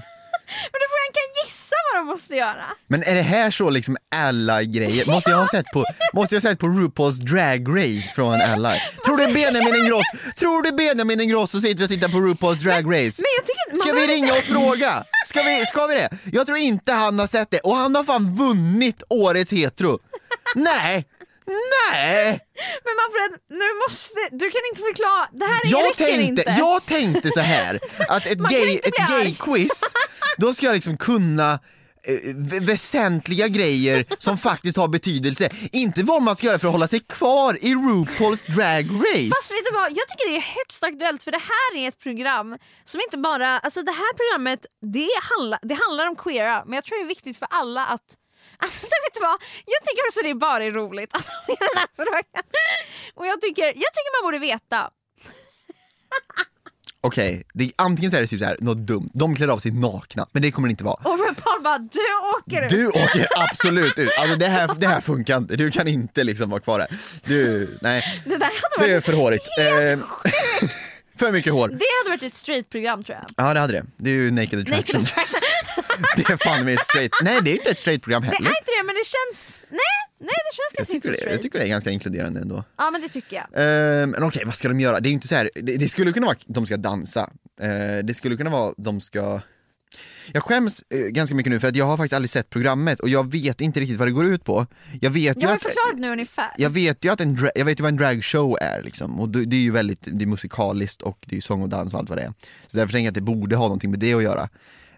[SPEAKER 3] Men du får jag kan gissa vad de måste göra.
[SPEAKER 4] Men är det här så liksom alla grejer? Måste jag ha sett på, måste jag ha sett på RuPaul's Drag Race från alla? Tror du Benjamin Ingrosso, tror du Benjamin Ingrosso sitter och tittar på RuPaul's Drag Race?
[SPEAKER 3] men jag tycker inte- man
[SPEAKER 4] Ska vi
[SPEAKER 3] behöver
[SPEAKER 4] ringa och
[SPEAKER 3] inte-
[SPEAKER 4] fråga? Ska vi, ska vi det? Jag tror inte han har sett det och han har fan vunnit årets hetero. Nej, nej!
[SPEAKER 3] Men Manfred, nu måste, du kan inte förklara, det här
[SPEAKER 4] jag
[SPEAKER 3] räcker
[SPEAKER 4] tänkte,
[SPEAKER 3] inte.
[SPEAKER 4] Jag tänkte så här att ett
[SPEAKER 3] Man kan
[SPEAKER 4] gay,
[SPEAKER 3] inte
[SPEAKER 4] ett
[SPEAKER 3] bli arg.
[SPEAKER 4] gay quiz, då ska jag liksom kunna eh, vä- väsentliga grejer som faktiskt har betydelse. Inte vad man ska göra för att hålla sig kvar i RuPaul's Drag
[SPEAKER 3] Fast
[SPEAKER 4] Race.
[SPEAKER 3] vet du vad, jag tycker det är högst aktuellt för det här är ett program som inte bara, alltså det här programmet det, handla, det handlar om queera men jag tror det är viktigt för alla att Alltså så vet du vad, jag tycker också det är bara är roligt att ha med den här frågan. Och jag tycker, jag tycker man borde veta.
[SPEAKER 4] Okej, det antingen så är det typ så här, något dumt, de klär av sig nakna, men det kommer det inte vara.
[SPEAKER 3] Och RuPaul bara, du åker ut.
[SPEAKER 4] Du åker absolut ut, alltså det här, det här funkar inte, du kan inte liksom vara kvar här. Du, nej,
[SPEAKER 3] Det där hade
[SPEAKER 4] det är
[SPEAKER 3] varit,
[SPEAKER 4] för hårigt. Eh, för mycket hår.
[SPEAKER 3] det hade varit ett straight-program tror jag.
[SPEAKER 4] Ja det hade det, det är ju Naked Attraction. det är fan med ett straight, nej det är inte ett straight program
[SPEAKER 3] Det
[SPEAKER 4] heller.
[SPEAKER 3] är inte det men det känns, nej, nej det känns
[SPEAKER 4] jag,
[SPEAKER 3] kanske inte
[SPEAKER 4] tycker
[SPEAKER 3] så
[SPEAKER 4] det,
[SPEAKER 3] straight.
[SPEAKER 4] jag tycker det är ganska inkluderande ändå.
[SPEAKER 3] Ja men det tycker jag.
[SPEAKER 4] Ehm, men okej, vad ska de göra? Det är inte så här, det, det skulle kunna vara att de ska dansa. Ehm, det skulle kunna vara de ska... Jag skäms eh, ganska mycket nu för att jag har faktiskt aldrig sett programmet och jag vet inte riktigt vad det går ut på. Jag vet
[SPEAKER 3] Jag
[SPEAKER 4] ju
[SPEAKER 3] har
[SPEAKER 4] att...
[SPEAKER 3] förklarat nu ungefär.
[SPEAKER 4] Jag vet ju att en dra- jag vet ju vad en dragshow är liksom. och det det är ju väldigt det är musikaliskt och det är ju sång och dans och allt vad det är. Så därför tänker jag att det borde ha någonting med det att göra.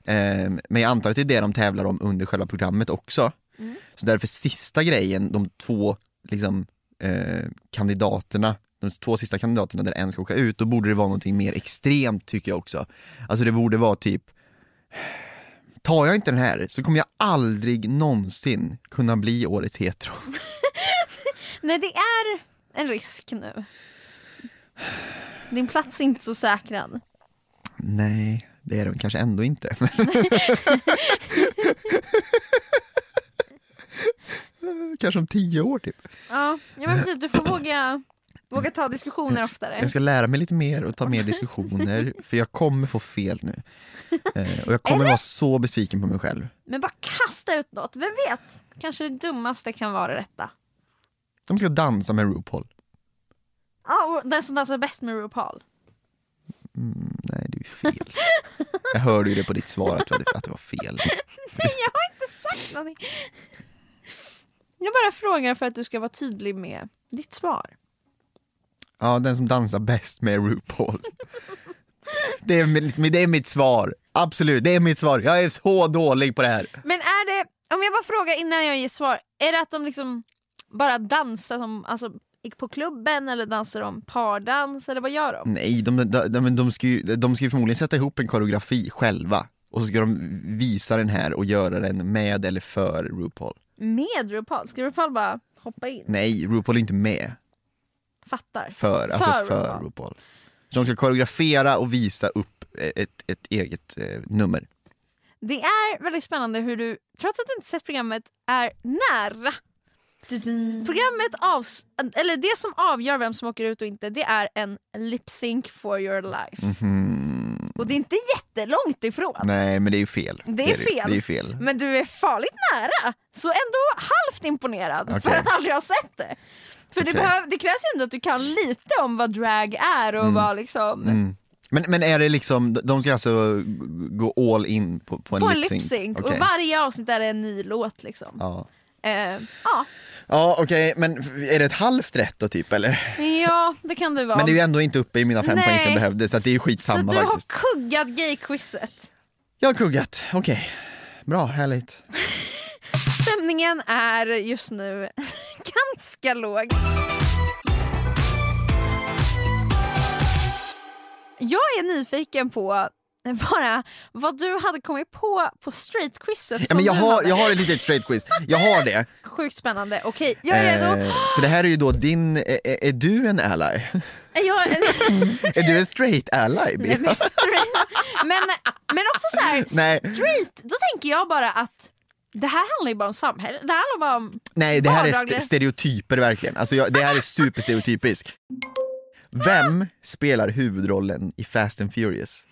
[SPEAKER 4] Ehm, men jag antar att det är det de tävlar om under själva programmet också. Så därför sista grejen, de två liksom, eh, kandidaterna, de två sista kandidaterna där en ska åka ut, då borde det vara någonting mer extremt tycker jag också. Alltså det borde vara typ Tar jag inte den här så kommer jag aldrig någonsin kunna bli årets hetero.
[SPEAKER 3] Nej, det är en risk nu. Din plats är inte så säkrad.
[SPEAKER 4] Nej, det är de kanske ändå inte. kanske om tio år typ.
[SPEAKER 3] Ja, jag menar precis, du får våga, våga ta diskussioner oftare.
[SPEAKER 4] Jag ska lära mig lite mer och ta mer diskussioner för jag kommer få fel nu. Eh, och jag kommer vara så besviken på mig själv.
[SPEAKER 3] Men bara kasta ut något, vem vet? Kanske det dummaste kan vara det rätta.
[SPEAKER 4] De ska dansa med RuPaul.
[SPEAKER 3] Ja, och den som dansar bäst med RuPaul.
[SPEAKER 4] Nej, det är ju fel. Jag hörde ju det på ditt svar att, du hade- att det var fel.
[SPEAKER 3] Nej, jag har inte sagt någonting. Jag bara frågar för att du ska vara tydlig med ditt svar.
[SPEAKER 4] Ja, den som dansar bäst med RuPaul. Det är, mitt- det är mitt svar. Absolut, det är mitt svar. Jag är så dålig på det här.
[SPEAKER 3] Men är det, om jag bara frågar innan jag ger svar, är det att de liksom bara dansar som, alltså, gick på klubben eller dansar de pardans eller vad gör de?
[SPEAKER 4] Nej, de, de, de, de, ska ju, de ska ju förmodligen sätta ihop en koreografi själva. och så ska de visa den här och göra den med eller för RuPaul.
[SPEAKER 3] Med RuPaul? Ska RuPaul bara hoppa in?
[SPEAKER 4] Nej, RuPaul är inte med.
[SPEAKER 3] Fattar.
[SPEAKER 4] För, alltså för RuPaul. Så de ska koreografera och visa upp e, ett, ett eget eh, nummer.
[SPEAKER 3] Det är väldigt spännande hur du, trots att du inte sett programmet, är nära. Programmet avs- eller det som avgör vem som åker ut och inte, det är en lip sync for your life.
[SPEAKER 4] Mhm.
[SPEAKER 3] Och det är inte jättelångt ifrån.
[SPEAKER 4] Nej, men det är ju fel.
[SPEAKER 3] Det är
[SPEAKER 4] ju.
[SPEAKER 3] fel.
[SPEAKER 4] Det är ju fel. Mm.
[SPEAKER 3] Men du är farligt nära. Så ändå halvt imponerad för
[SPEAKER 4] Okej.
[SPEAKER 3] att aldrig ha sett det. För det,
[SPEAKER 4] Okej.
[SPEAKER 3] behöv, det krävs ändå att du kan lite om vad drag är och
[SPEAKER 4] Mm.
[SPEAKER 3] vad liksom...
[SPEAKER 4] Men, men är det liksom, de ska alltså g- gå all in på, på en
[SPEAKER 3] På en
[SPEAKER 4] lip sync?
[SPEAKER 3] lip sync.
[SPEAKER 4] Okej.
[SPEAKER 3] Och varje avsnitt är det en ny låt liksom.
[SPEAKER 4] Ja,
[SPEAKER 3] Eh, ja.
[SPEAKER 4] ja okej, men f- är det ett halvt rätt då typ eller?
[SPEAKER 3] ja, det kan det vara.
[SPEAKER 4] Men det är ju ändå inte uppe i mina fem
[SPEAKER 3] Nej.
[SPEAKER 4] poäng som jag behövde så att det är ju
[SPEAKER 3] Så
[SPEAKER 4] skitsamma
[SPEAKER 3] du har
[SPEAKER 4] faktiskt.
[SPEAKER 3] kuggat gayquizet.
[SPEAKER 4] Jag har kuggat, okej. Bra, härligt.
[SPEAKER 3] Stämningen är just nu ganska låg. Jag är nyfiken på bara vad du hade kommit på på straightquizet.
[SPEAKER 4] Ja,
[SPEAKER 3] som
[SPEAKER 4] men jag,
[SPEAKER 3] du
[SPEAKER 4] har,
[SPEAKER 3] hade.
[SPEAKER 4] jag har ett litet straight quiz, jag har det.
[SPEAKER 3] Sjukt spännande. Okej, jag är redo.
[SPEAKER 4] Eh, så det här är ju då din, är, är du en ally?
[SPEAKER 3] Jag,
[SPEAKER 4] är du en straight ally? Bea?
[SPEAKER 3] nej, men, straight, men, men också så här,
[SPEAKER 4] Nej.
[SPEAKER 3] straight, då tänker jag bara att det här handlar ju bara om samhället. Det här handlar bara om
[SPEAKER 4] Nej, det här är
[SPEAKER 3] Vardagliga.
[SPEAKER 4] st- stereotyper verkligen. Alltså jag, det här är superstereotypiskt. Vem spelar huvudrollen i Fast and Furious?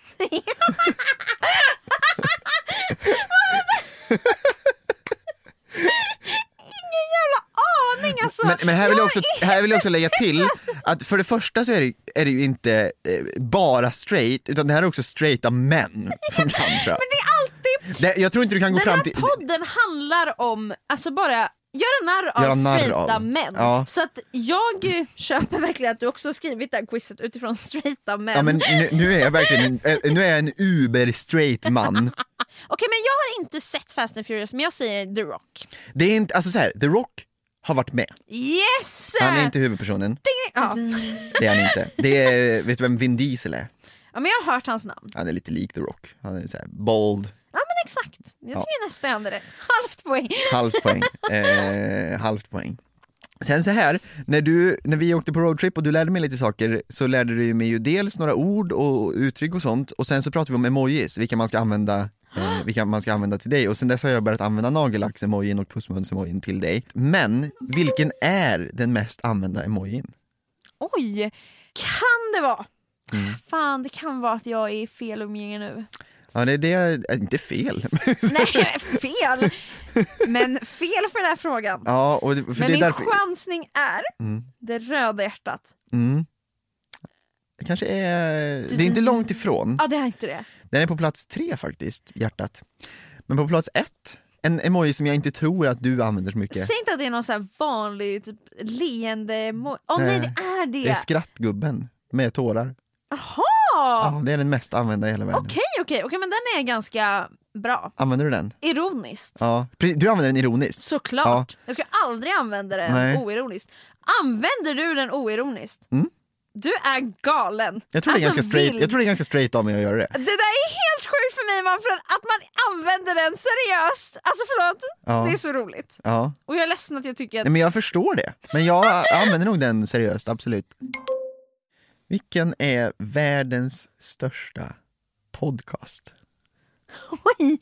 [SPEAKER 3] Ingen jävla aning alltså!
[SPEAKER 4] Men, men här, vill jag också,
[SPEAKER 3] är
[SPEAKER 4] här vill jag också
[SPEAKER 3] inte
[SPEAKER 4] lägga till
[SPEAKER 3] seriös.
[SPEAKER 4] att för det första så är det, är det ju inte eh, bara straight, utan det här är också straighta män som kan tror jag.
[SPEAKER 3] Men det är alltid...
[SPEAKER 4] Det, jag tror inte du kan gå
[SPEAKER 3] Den
[SPEAKER 4] fram
[SPEAKER 3] här
[SPEAKER 4] till...
[SPEAKER 3] podden handlar om, alltså bara göra narr av
[SPEAKER 4] Göra narr
[SPEAKER 3] straighta
[SPEAKER 4] av.
[SPEAKER 3] män.
[SPEAKER 4] Ja.
[SPEAKER 3] Så att jag eh, köper verkligen att du också har skrivit det här quizet utifrån straighta män.
[SPEAKER 4] Ja, men nu, nu är jag verkligen en, eh, nu är jag en uber-straight man.
[SPEAKER 3] Okej men jag har inte sett Fast and Furious men jag säger The Rock.
[SPEAKER 4] Det är inte, alltså så här, The Rock har varit med.
[SPEAKER 3] Yes!
[SPEAKER 4] Han är inte huvudpersonen.
[SPEAKER 3] ja.
[SPEAKER 4] Det är han inte. Det är, vet du vem Vin Diesel är?
[SPEAKER 3] ja men jag har hört hans namn.
[SPEAKER 4] Han är lite lik The Rock. Han är så här bold,
[SPEAKER 3] Ja men exakt, jag tycker nästan jag hade rätt. Halvt poäng.
[SPEAKER 4] halvt poäng. Eh, halvt poäng. Sen så här, när, du, när vi åkte på roadtrip och du lärde mig lite saker så lärde du mig ju dels några ord och uttryck och sånt och sen så pratade vi om emojis, vilka man ska använda eh, vilka man ska använda till dig och sen dess har jag börjat använda nagellack-emojin och pussmuns-emojin till dig. Men vilken är den mest använda emojin?
[SPEAKER 3] Oj, kan det vara?
[SPEAKER 4] Mm.
[SPEAKER 3] Fan det kan vara att jag är i fel umgänge nu.
[SPEAKER 4] Ja, det, det är inte fel.
[SPEAKER 3] Nej, fel! Men fel för den här frågan.
[SPEAKER 4] ja, och det, för
[SPEAKER 3] Men
[SPEAKER 4] det är
[SPEAKER 3] min
[SPEAKER 4] därför...
[SPEAKER 3] chansning är det röda hjärtat.
[SPEAKER 4] Mm. Det kanske är... Det är inte långt ifrån.
[SPEAKER 3] Ja, det är inte det.
[SPEAKER 4] Den är på plats tre faktiskt, hjärtat. Men på plats ett, en emoji som jag inte tror att du använder så mycket.
[SPEAKER 3] Säg inte att det är någon så här vanlig typ, leende... Åh oh, nej,
[SPEAKER 4] Nej,
[SPEAKER 3] det är det!
[SPEAKER 4] Det är skrattgubben med tårar.
[SPEAKER 3] Jaha!
[SPEAKER 4] Ja, det är den mest använda i hela världen.
[SPEAKER 3] Okej, okej, okej, men den är ganska bra.
[SPEAKER 4] Använder du den?
[SPEAKER 3] Ironiskt.
[SPEAKER 4] Ja. Pre- Du använder den ironiskt.
[SPEAKER 3] Såklart.
[SPEAKER 4] Ja.
[SPEAKER 3] Jag skulle aldrig använda den
[SPEAKER 4] Nej. Mm.
[SPEAKER 3] oironiskt. Använder du den oironiskt? Du är galen.
[SPEAKER 4] Jag tror, det är
[SPEAKER 3] Alltså,
[SPEAKER 4] ganska straight,
[SPEAKER 3] vild.
[SPEAKER 4] jag tror det är ganska straight av mig att göra det.
[SPEAKER 3] Det där är helt sjukt för mig Manfred, att man använder den seriöst. Alltså förlåt,
[SPEAKER 4] Ja.
[SPEAKER 3] det är så roligt.
[SPEAKER 4] Ja.
[SPEAKER 3] Och jag är ledsen att jag tycker att...
[SPEAKER 4] Nej, men jag förstår det. Men jag använder nog den seriöst, absolut. Vilken är världens största podcast?
[SPEAKER 3] Oj,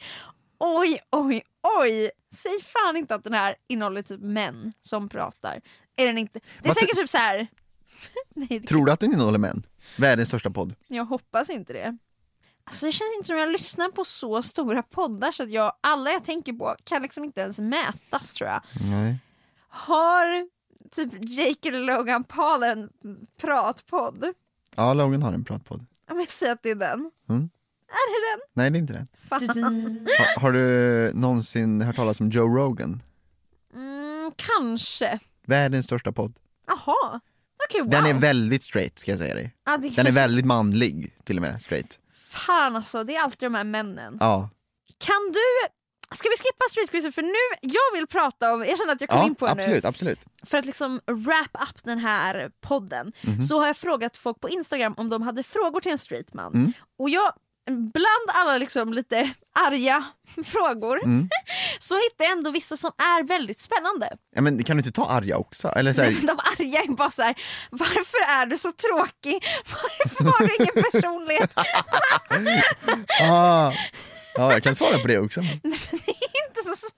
[SPEAKER 3] oj, oj, oj! Säg fan inte att den här innehåller typ män som pratar. Är den inte? Det är
[SPEAKER 4] Vad
[SPEAKER 3] säkert typ så här. Nej, det-
[SPEAKER 4] Tror du att den innehåller män? Världens största podd.
[SPEAKER 3] jag hoppas inte det. Alltså det känns inte som jag lyssnar på så stora poddar så att jag, alla jag tänker på kan liksom inte ens mätas tror jag.
[SPEAKER 4] Nej.
[SPEAKER 3] Har typ Jake eller Logan Paul en pratpodd?
[SPEAKER 4] Ja, Logan har en pratpodd.
[SPEAKER 3] Om jag säger att det är den.
[SPEAKER 4] Mm.
[SPEAKER 3] Är det den?
[SPEAKER 4] Nej, det är inte den.
[SPEAKER 3] Fan.
[SPEAKER 4] Ha, har du någonsin hört talas om Joe Rogan?
[SPEAKER 3] Mm, kanske.
[SPEAKER 4] Världens största podd.
[SPEAKER 3] Jaha. Okej, wow.
[SPEAKER 4] Den är väldigt straight ska jag säga dig.
[SPEAKER 3] ja, det
[SPEAKER 4] Den är väldigt manlig till och med. straight.
[SPEAKER 3] Fan alltså, det är alltid de här männen.
[SPEAKER 4] Ja,
[SPEAKER 3] Kan du... Ska vi skippa streetquizet för nu, jag vill prata om, jag känner att jag kom
[SPEAKER 4] ja
[SPEAKER 3] in på det
[SPEAKER 4] absolut, absolut.
[SPEAKER 3] nu. För att liksom wrap up den
[SPEAKER 4] Mhm. Mm.
[SPEAKER 3] här podden så har jag frågat folk på Instagram om de hade frågor till en streetman. Och jag bland alla liksom lite arga frågor
[SPEAKER 4] Mm.
[SPEAKER 3] så hittar jag ändå vissa som är väldigt spännande.
[SPEAKER 4] Ja, men kan du inte ta arga också? Eller så här,
[SPEAKER 3] De arga är bara så här, varför är du så tråkig? Varför har du ingen personlighet?
[SPEAKER 4] ah, ja, jag kan svara på det också.
[SPEAKER 3] Inte så s-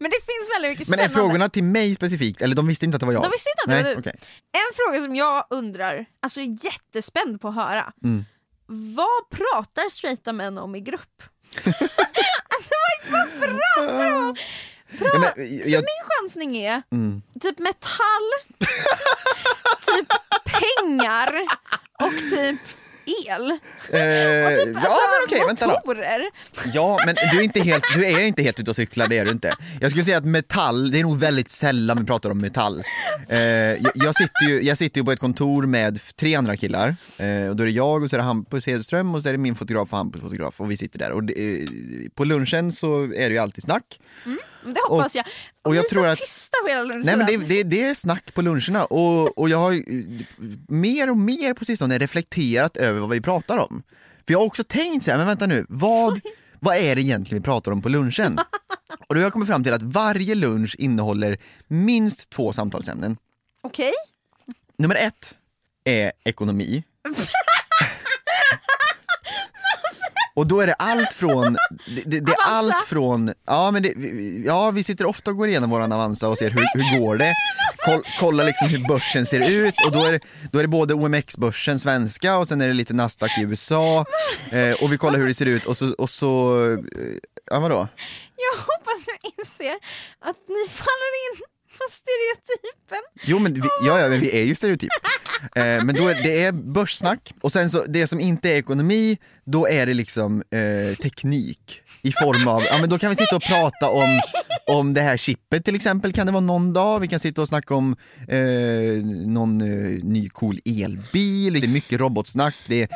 [SPEAKER 3] Men det finns väldigt mycket
[SPEAKER 4] Men
[SPEAKER 3] spännande.
[SPEAKER 4] är frågorna till mig specifikt? Eller de visste inte att det var jag?
[SPEAKER 3] De visste inte att det
[SPEAKER 4] Nej,
[SPEAKER 3] var du.
[SPEAKER 4] okej.
[SPEAKER 3] En fråga som jag undrar, alltså är jättespänd på att höra.
[SPEAKER 4] Mm.
[SPEAKER 3] Vad pratar straighta män om i grupp? alltså vad, vad pratar de om?
[SPEAKER 4] Ja, men, jag, Mm.
[SPEAKER 3] Min chansning är typ metall, typ pengar och typ el.
[SPEAKER 4] eh,
[SPEAKER 3] typ,
[SPEAKER 4] ja,
[SPEAKER 3] alltså,
[SPEAKER 4] men okej, vänta då.
[SPEAKER 3] motorer.
[SPEAKER 4] Ja, men du är, inte helt, du är inte helt ute och cyklar, det är du inte. Jag skulle säga att metall, det är nog väldigt sällan vi pratar om metall. Eh, jag, jag, sitter ju, jag sitter ju på ett kontor med tre andra killar. Eh, och då är det jag, och så är det Hampus Hedström och så är det min fotograf och Hampus fotograf. Och vi sitter där. Och det, eh, på lunchen så är det ju alltid snack.
[SPEAKER 3] Men Det hoppas
[SPEAKER 4] Och-
[SPEAKER 3] jag.
[SPEAKER 4] och jag
[SPEAKER 3] Ni är
[SPEAKER 4] tror
[SPEAKER 3] så
[SPEAKER 4] att-
[SPEAKER 3] tysta på hela lunchen.
[SPEAKER 4] Nej, men det, det, det är snack på luncherna och, och jag har ju, eh, mer och mer på sistone reflekterat över vad vi pratar om. För jag har också tänkt så här, men vänta nu, vad, vad är det egentligen vi pratar om på lunchen? Och då har jag kommit fram till att varje lunch innehåller minst två samtalsämnen.
[SPEAKER 3] Okej,
[SPEAKER 4] Nummer ett är ekonomi. Och då är det allt från, det, det, det är
[SPEAKER 3] Avanza.
[SPEAKER 4] allt från, ja men det, ja vi sitter ofta och går igenom våran Avanza och ser hur, hur går det, Koll, kollar liksom hur börsen ser ut och då är det, då är det både OMX-börsen svenska och sen är det lite Nasdaq i USA eh, och vi kollar hur det ser ut och så, och så eh, ja vadå?
[SPEAKER 3] jag hoppas du inser att ni faller in på stereotypen.
[SPEAKER 4] Jo men vi, ja, ja, men vi är ju stereotyp. Eh, men då är, det är börssnack och sen så det som inte är ekonomi, då är det liksom eh, teknik i form av, ja men då kan vi sitta och prata om, om det här chippet till exempel kan det vara någon dag, vi kan sitta och snacka om eh, någon eh, ny cool elbil, det är mycket robotsnack, det är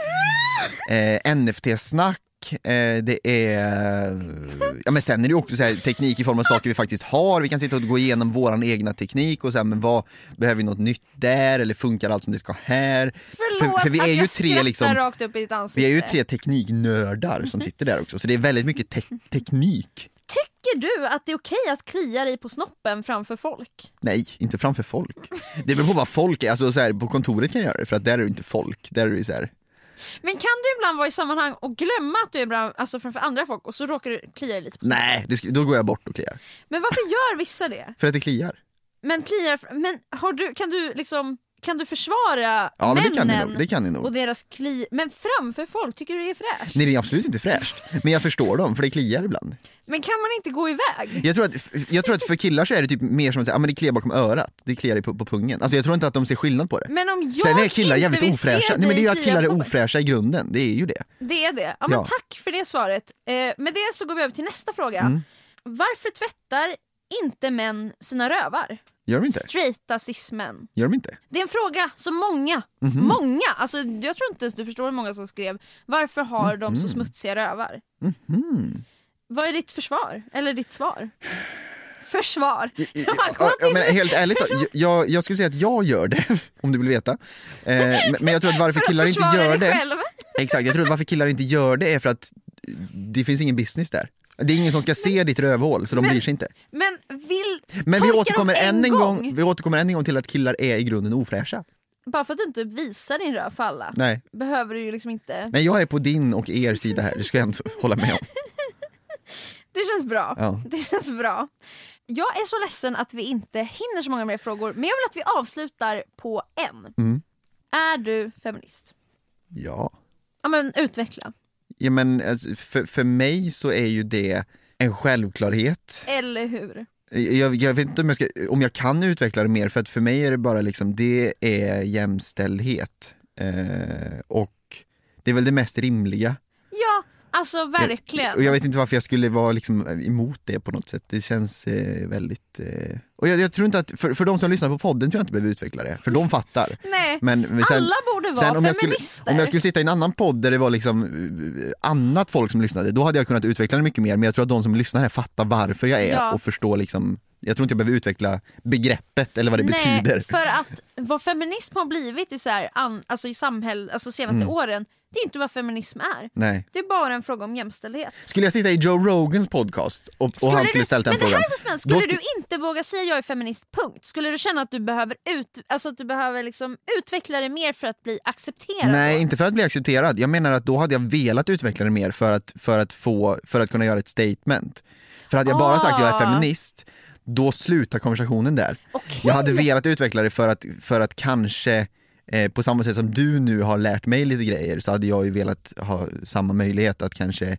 [SPEAKER 4] eh, NFT-snack, eh, det är... Ja, men sen är det ju också så här, teknik i form av saker vi faktiskt har. Vi kan sitta och gå igenom vår egna teknik och säga men vad behöver vi något nytt där eller funkar allt som det ska här?
[SPEAKER 3] Förlåt
[SPEAKER 4] för, för vi
[SPEAKER 3] att
[SPEAKER 4] är ju
[SPEAKER 3] jag
[SPEAKER 4] tre
[SPEAKER 3] skrattar
[SPEAKER 4] liksom,
[SPEAKER 3] rakt upp i ditt ansikte.
[SPEAKER 4] vi är ju tre tekniknördar som sitter där också så det är väldigt mycket te- teknik.
[SPEAKER 3] Tycker du att det är okej att klia dig på snoppen framför folk?
[SPEAKER 4] Nej, inte framför folk. Det beror på vad folk är, alltså så här, på kontoret kan jag göra det för att där är det inte folk. Där är det ju så här,
[SPEAKER 3] Men kan du ibland vara i sammanhang och glömma att du är bland, alltså framför andra folk och så råkar du klia dig lite? På.
[SPEAKER 4] nej, det, sk- då går jag bort och kliar.
[SPEAKER 3] Men varför gör vissa det?
[SPEAKER 4] För att det kliar.
[SPEAKER 3] Men kliar, men har du, kan du liksom kan du försvara
[SPEAKER 4] Ja, men det
[SPEAKER 3] männen
[SPEAKER 4] kan ni nog, det kan ni nog.
[SPEAKER 3] och deras kli... Men framför folk, tycker du det är fräscht?
[SPEAKER 4] Nej det är absolut inte fräscht, men jag förstår dem för det kliar ibland.
[SPEAKER 3] Men kan man inte gå iväg?
[SPEAKER 4] Jag tror att, jag tror att för killar så är det typ mer som att säga, ah, men det kliar bakom örat, det kliar på, på pungen. Alltså jag tror inte att de ser skillnad på det.
[SPEAKER 3] Men om jag
[SPEAKER 4] Sen är killar
[SPEAKER 3] inte
[SPEAKER 4] jävligt
[SPEAKER 3] vill
[SPEAKER 4] ofräscha.
[SPEAKER 3] se
[SPEAKER 4] Nej men det är ju
[SPEAKER 3] dig
[SPEAKER 4] att killar är
[SPEAKER 3] klia på-
[SPEAKER 4] ofräscha i grunden, det är ju det.
[SPEAKER 3] Det är det. Ja, men
[SPEAKER 4] Ja.
[SPEAKER 3] Tack för det svaret. Eh, med det så går vi över till nästa fråga.
[SPEAKER 4] Mm.
[SPEAKER 3] Varför tvättar inte män sina rövar?
[SPEAKER 4] Gör de inte?
[SPEAKER 3] Straighta cis-män.
[SPEAKER 4] Gör de inte?
[SPEAKER 3] Det är en fråga som många,
[SPEAKER 4] Mhm.
[SPEAKER 3] många, alltså jag tror inte ens du förstår hur många som skrev varför har de
[SPEAKER 4] Mhm.
[SPEAKER 3] så smutsiga rövar? Vad är ditt försvar? Eller ditt svar? Försvar?
[SPEAKER 4] I- i-
[SPEAKER 3] Jag bara,
[SPEAKER 4] ja,
[SPEAKER 3] kom till-
[SPEAKER 4] men helt ärligt då, jag, jag skulle säga att jag gör det, om du vill veta. Eh, men- men jag tror att varför
[SPEAKER 3] för att
[SPEAKER 4] killar inte
[SPEAKER 3] försvara
[SPEAKER 4] gör
[SPEAKER 3] dig
[SPEAKER 4] det,
[SPEAKER 3] själv.
[SPEAKER 4] exakt, jag tror att varför killar inte gör det är för att det finns ingen business där. Det är ingen som ska se ditt rövhål så de bryr sig inte.
[SPEAKER 3] Men vill
[SPEAKER 4] Men vi
[SPEAKER 3] torka dem
[SPEAKER 4] återkommer, än en gång. vi återkommer än en gång till att killar är i grunden ofräscha.
[SPEAKER 3] Bara för att du inte visar din röv för alla
[SPEAKER 4] Nej.
[SPEAKER 3] behöver du ju liksom inte...
[SPEAKER 4] Nej, jag är på din och er sida här, det ska jag ändå hålla med om.
[SPEAKER 3] Det känns bra.
[SPEAKER 4] Ja.
[SPEAKER 3] Det känns bra. Jag är så ledsen att vi inte hinner så många mer frågor men jag vill att vi avslutar på en.
[SPEAKER 4] Mm.
[SPEAKER 3] Är du feminist?
[SPEAKER 4] Ja.
[SPEAKER 3] Ja men utveckla.
[SPEAKER 4] ja men, alltså, för, för mig så är ju det en självklarhet.
[SPEAKER 3] Eller hur?
[SPEAKER 4] Jag, jag vet inte om jag, ska, om jag kan utveckla det mer, för att för mig är det bara liksom, det är jämställdhet. Eh, och det är väl det mest rimliga.
[SPEAKER 3] Ja, alltså verkligen.
[SPEAKER 4] Och jag vet inte varför jag skulle vara liksom emot det på något sätt. Det känns eh, väldigt... Eh... Och jag, jag tror inte att, för, för de som lyssnar på podden tror jag inte behöver utveckla det, för de fattar.
[SPEAKER 3] Nej,
[SPEAKER 4] Men
[SPEAKER 3] alla borde vara
[SPEAKER 4] om jag, skulle,
[SPEAKER 3] feminister.
[SPEAKER 4] om jag skulle sitta i en annan podd där det var liksom eh, annat folk som lyssnade, då hade jag kunnat utveckla det mycket mer. Men jag tror att de som lyssnar här fattar varför jag är
[SPEAKER 3] Ja.
[SPEAKER 4] och förstår liksom, jag tror inte jag behöver utveckla begreppet eller vad det
[SPEAKER 3] Nej,
[SPEAKER 4] betyder. Mm.
[SPEAKER 3] för att vad feminism har blivit i, så här, an, alltså i samhäll, alltså senaste åren Det är inte vad feminism är.
[SPEAKER 4] Nej.
[SPEAKER 3] Det är bara en fråga om jämställdhet.
[SPEAKER 4] Skulle jag sitta i Joe Rogans podcast och, och han skulle
[SPEAKER 3] du,
[SPEAKER 4] ställa den
[SPEAKER 3] men
[SPEAKER 4] frågan?
[SPEAKER 3] det här är så spännande. Skulle
[SPEAKER 4] då sku-
[SPEAKER 3] du inte våga säga jag är feminist, punkt? Skulle du känna att du behöver, ut, alltså att du behöver liksom utveckla dig mer för att bli accepterad?
[SPEAKER 4] Nej, inte för att bli accepterad. Jag menar att då hade jag velat utveckla det mer för att, för att, få, för att kunna göra ett statement. För hade jag bara sagt jag är
[SPEAKER 3] Ah.
[SPEAKER 4] feminist, då slutar konversationen där.
[SPEAKER 3] Okej.
[SPEAKER 4] Jag hade velat utveckla det för att, för att kanske eh, på samma sätt som du nu har lärt mig lite grejer så hade jag ju velat ha samma möjlighet att kanske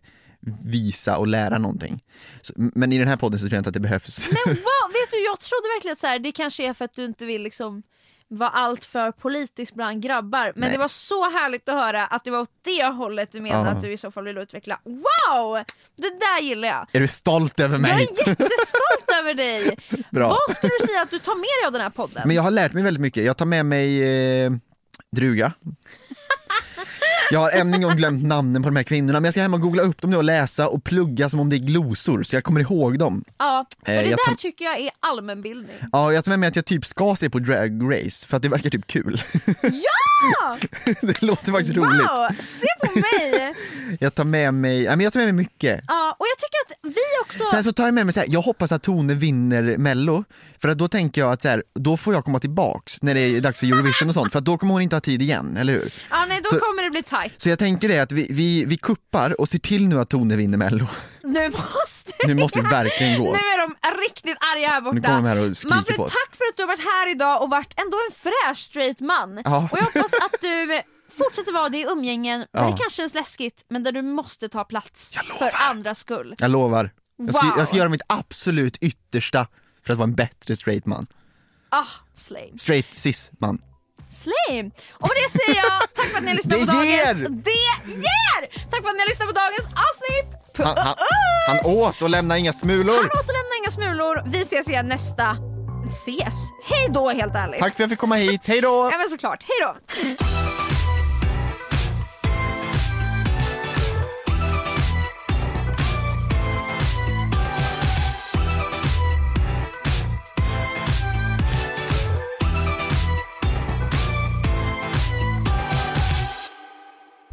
[SPEAKER 4] visa och lära någonting. Så, men i den här podden så tror jag inte att det behövs.
[SPEAKER 3] Men vad, vet du, jag trodde verkligen att så här, det kanske är för att du inte vill liksom vara allt för politisk bland grabbar. Men det var så härligt att höra att det var åt det hållet du menade
[SPEAKER 4] Ja.
[SPEAKER 3] att du i så fall vill utveckla. Wow! Det där gillar jag.
[SPEAKER 4] Är du stolt över mig?
[SPEAKER 3] Jag är jättestolt över dig!
[SPEAKER 4] Bra.
[SPEAKER 3] Vad skulle du säga att du tar med dig av den här podden?
[SPEAKER 4] Men jag har lärt mig väldigt mycket. Jag tar med mig eh, druga. Jag har än en gång glömt namnen på de här kvinnorna men jag ska hem och googla upp dem nu och läsa och plugga som om det är glosor så jag kommer ihåg dem.
[SPEAKER 3] Ja, för
[SPEAKER 4] Eh,
[SPEAKER 3] det
[SPEAKER 4] jag
[SPEAKER 3] där
[SPEAKER 4] tar-
[SPEAKER 3] tycker jag är allmänbildning.
[SPEAKER 4] Ja, jag tar med mig att jag typ ska se på Drag Race för att det verkar typ kul.
[SPEAKER 3] Ja!
[SPEAKER 4] det låter faktiskt roligt.
[SPEAKER 3] Wow! Se på mig!
[SPEAKER 4] Jag tar med mig, nej, men jag tar med mig mycket.
[SPEAKER 3] Ja, och jag tycker att vi också...
[SPEAKER 4] Sen så tar jag med mig så här, jag hoppas att Tone vinner mello för att då tänker jag att så här, då får jag komma tillbaks när det är dags för Eurovision och sånt för att då kommer hon inte ha tid igen, eller hur?
[SPEAKER 3] Ja, nej, då
[SPEAKER 4] så-
[SPEAKER 3] kommer det bli tight.
[SPEAKER 4] Så jag tänker det att vi, vi, vi kuppar och ser till nu att Tone vinner mello.
[SPEAKER 3] Nu måste
[SPEAKER 4] Nu måste vi verkligen gå.
[SPEAKER 3] Nu är de riktigt arga här borta.
[SPEAKER 4] Nu kommer de här och skriker
[SPEAKER 3] Manfred,
[SPEAKER 4] på oss.
[SPEAKER 3] tack för att du har varit här idag och varit ändå en fräsch straight man.
[SPEAKER 4] Ja.
[SPEAKER 3] Och jag hoppas att du fortsätter vara det i umgängen där
[SPEAKER 4] Ja.
[SPEAKER 3] det kanske känns läskigt men där du måste ta plats för andras skull.
[SPEAKER 4] Jag lovar. Jag ska,
[SPEAKER 3] Wow.
[SPEAKER 4] jag ska göra mitt absolut yttersta för att vara en bättre straight man.
[SPEAKER 3] Ah, slay.
[SPEAKER 4] Straight cis man.
[SPEAKER 3] Slay! Och med det säger jag tack för att ni har lyssnat
[SPEAKER 4] Det
[SPEAKER 3] på dagens...
[SPEAKER 4] ger!
[SPEAKER 3] Det ger! Tack för att ni har lyssnat på dagens avsnitt!
[SPEAKER 4] Han, han, han åt och lämnade inga smulor.
[SPEAKER 3] Han återlämnar inga smulor. Vi ses igen nästa... Ses? Hej då helt ärligt.
[SPEAKER 4] Tack för att jag fick komma hit. Hej då!
[SPEAKER 3] Ja men såklart, hej då!